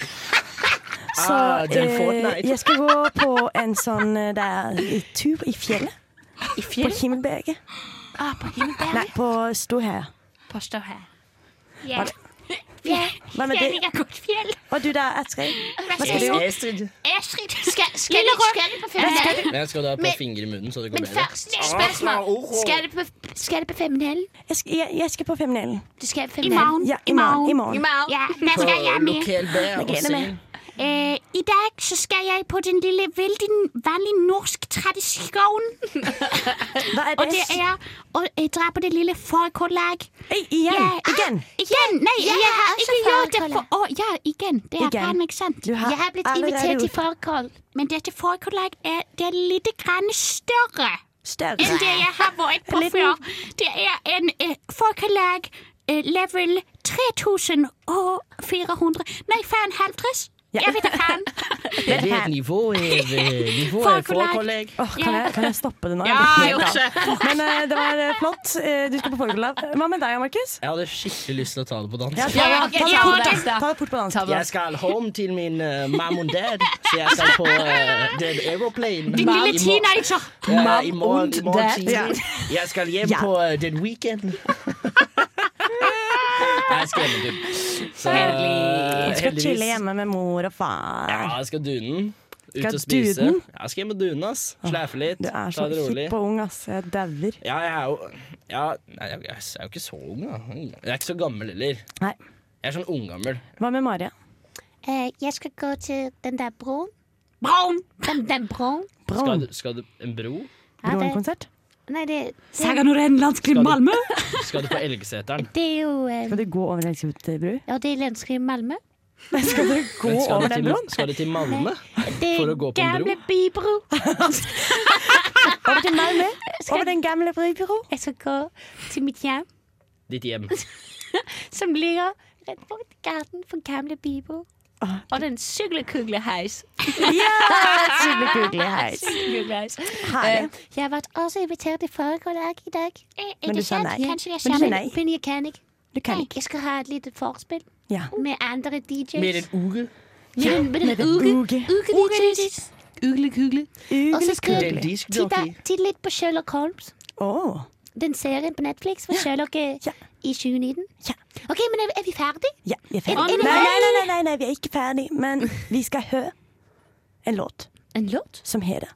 Så
Ah, den
eh,
Fortnite.
jeg skal gå på en sånn eh, der i tur i fjellet. På Himmelberget.
Ah, på Himmelberget?
Nei, på Storheia.
På Storheia.
Hva
Ja.
er det?
Ja.
Hva med
Jeg
det?
liker godt fjell.
Og du da, Astrid? Hva skal du gjøre?
Astrid, skal, skal, du, skal du på feminell?
Men jeg skal da på
Men-
finger i munnen, så det går
Men
bedre.
først, spørsmål. Skal du på, skal du på feminell?
Jeg skal, jeg, jeg skal på Feminellen.
Du skal på
I
feminell?
morgen. Ja, i morgen. I morgen.
Ja, der skal jeg med.
Jeg gleder meg.
Øh, I dag så skal jeg på den lille, veldig vanlig norsk tradisjon. Og det er å eh, dra på det lille fårikållag.
Igjen? Igjen?
Igjen? Nei, jeg, har også ikke gjort det fårikål. for Å, ja, igjen. Det er Igen. faen meg sant. Du har Jeg har blitt allerede invitert til gjort- fårikål, men dette fårikållag er, det er litt grann større
større
enn det jeg har vært på før. Det er en eh, fårikållag eh, level 3400 Nei, faen, 50. Jeg vet da faen.
Det er et
nivå nivå
Fagkollegg. Åh, kan, jeg, kan jeg stoppe det nå? Jeg blir helt
Ja,
gal. Men eh, det var eh, flott. Eh, Du skal på fagkollegg. Hva med deg, Markus?
Jeg hadde skikkelig lyst til å ta det på dansk.
Ja, ta det. Ta det fort. Ta det fort på dansk.
Jeg skal home til min eh, mom and dad, så jeg skal på eh, Dead Aeroplane.
Din lille teenager.
Ja, i morgen, i
Mom
morgen
and
tidlig.
dad.
Jeg skal hjem
Ja.
på eh, Dead Weekend. Jeg er skremmedypp. Så, eh,
Du skal chille
heldigvis-
hjemme med mor og far.
Ja, jeg skal dune den. Ut
Skal
og spise.
dune den?
Ja, Jeg skal hjem og dune, ass. Slæfe litt.
Du er så
ta det rolig.
hipp og ung, ass. Jeg dauer.
Ja, jeg er jo ja, Nei, jeg jeg er jo ikke så ung, da. Jeg er ikke så gammel heller.
Nei.
Jeg er sånn unggammel.
Hva med Maria?
Eh, jeg skal gå til den der broen. Broen! Den, den broen.
Skal, du- skal du En bro?
Ja, det-
Broen-konsert?
Nei, det,
Saga Norén landskrim Malmö.
Skal du på Elgeseteren?
det er jo eh,
Skal du gå over Elgsebutbru?
Ja, det er landskrim Malmö.
Skal du gå
Men skal
over
du
den
til-
broen?
Skal du til Malmö?
Det
For
er
å gå på en bro?
gamle bybro.
Over til Malmö. Over den gamle bybro.
Jeg skal gå til mitt hjem,
Ditt hjem.
som ligger rett bort i gaten for gamle bybro. Og den syklekugleheis.
syklekugleheis.
Syklekugleheis.
Herlig.
Eh, Jeg ble også invitert til foredrag i dag. Eh,
Men du
ikke
sa
sant?
nei.
Kanskje jeg
Men du sa
kommer,
nei.
men jeg kan ikke.
Du kan
Nei, Eh, Jeg skal ha et lite forspill
Ja.
med andre DJs.
Med en uge.
Med en, med en
Med en
uge.
uge.
Uge DJs.
Uglekugle.
Og så skal
Det er en
jeg
diskjockey.
titte, titte litt på Sherlock Holmes.
Åh.
Den serien på Netflix hvor Sherlock er i 2019. OK, men er, er vi ferdige?
Ja, vi er
Er- er
ferdig.
det
Nei, nei,
ferdig?
nei, nei, nei, nei, vi er ikke ferdig, men vi skal høre en låt.
En låt?
Som heter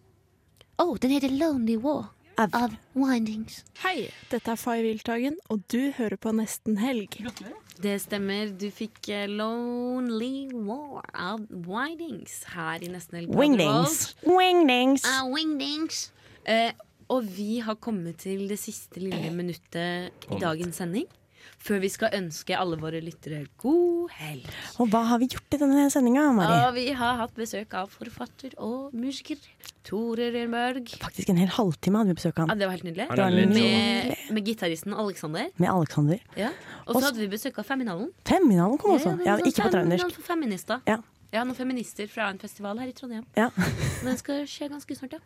Å, den heter Lonely War of, Windings.
Hei, dette er Fay Wiltagen, og du hører på Nesten Helg.
Det stemmer. Du fikk eh, Lonely War av Windings her i nesten Helg på
Wingdings. Wingdings.
Undervold. Eh, og vi har kommet til det siste lille minuttet i dagens sending. Før vi skal ønske alle våre lyttere god helg.
Og hva har vi gjort i denne sendinga, Mari?
Og vi har hatt besøk av forfatter og musiker Tore Rørmørg.
Faktisk en hel halvtime hadde vi besøk av
Ja,
han.
det var helt nydelig.
Det var nydelig.
Med, med gitaristen Alexander.
Med Alexander.
Ja. Og så hadde vi besøk av Feminalen.
Feminalen kom
Ja,
også.
det er
Ja,
noen
ikke på
sånn
trøndersk.
Feminalen for feminister.
Ja.
Ja, noen feminister fra en festival her i Trondheim.
Ja.
Den skal skje ganske snart, ja.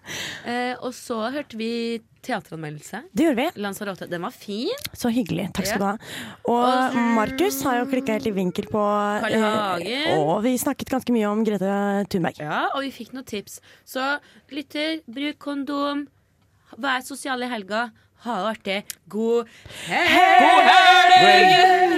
Eh, og så hørte vi teateranmeldelse.
Det gjorde vi.
Lanzarote. Den var fin.
Så hyggelig. Takk skal du ha.
Ja.
Og Markus har jo klikka helt i vinkel på
Carl I.
eh,
Hagen.
Og vi snakket ganske mye om Grete Thunberg.
Ja, og vi fikk noen tips. Så lytter, bruk kondom. Vær sosiale i helga. Ha det artig. God helg!
God helg!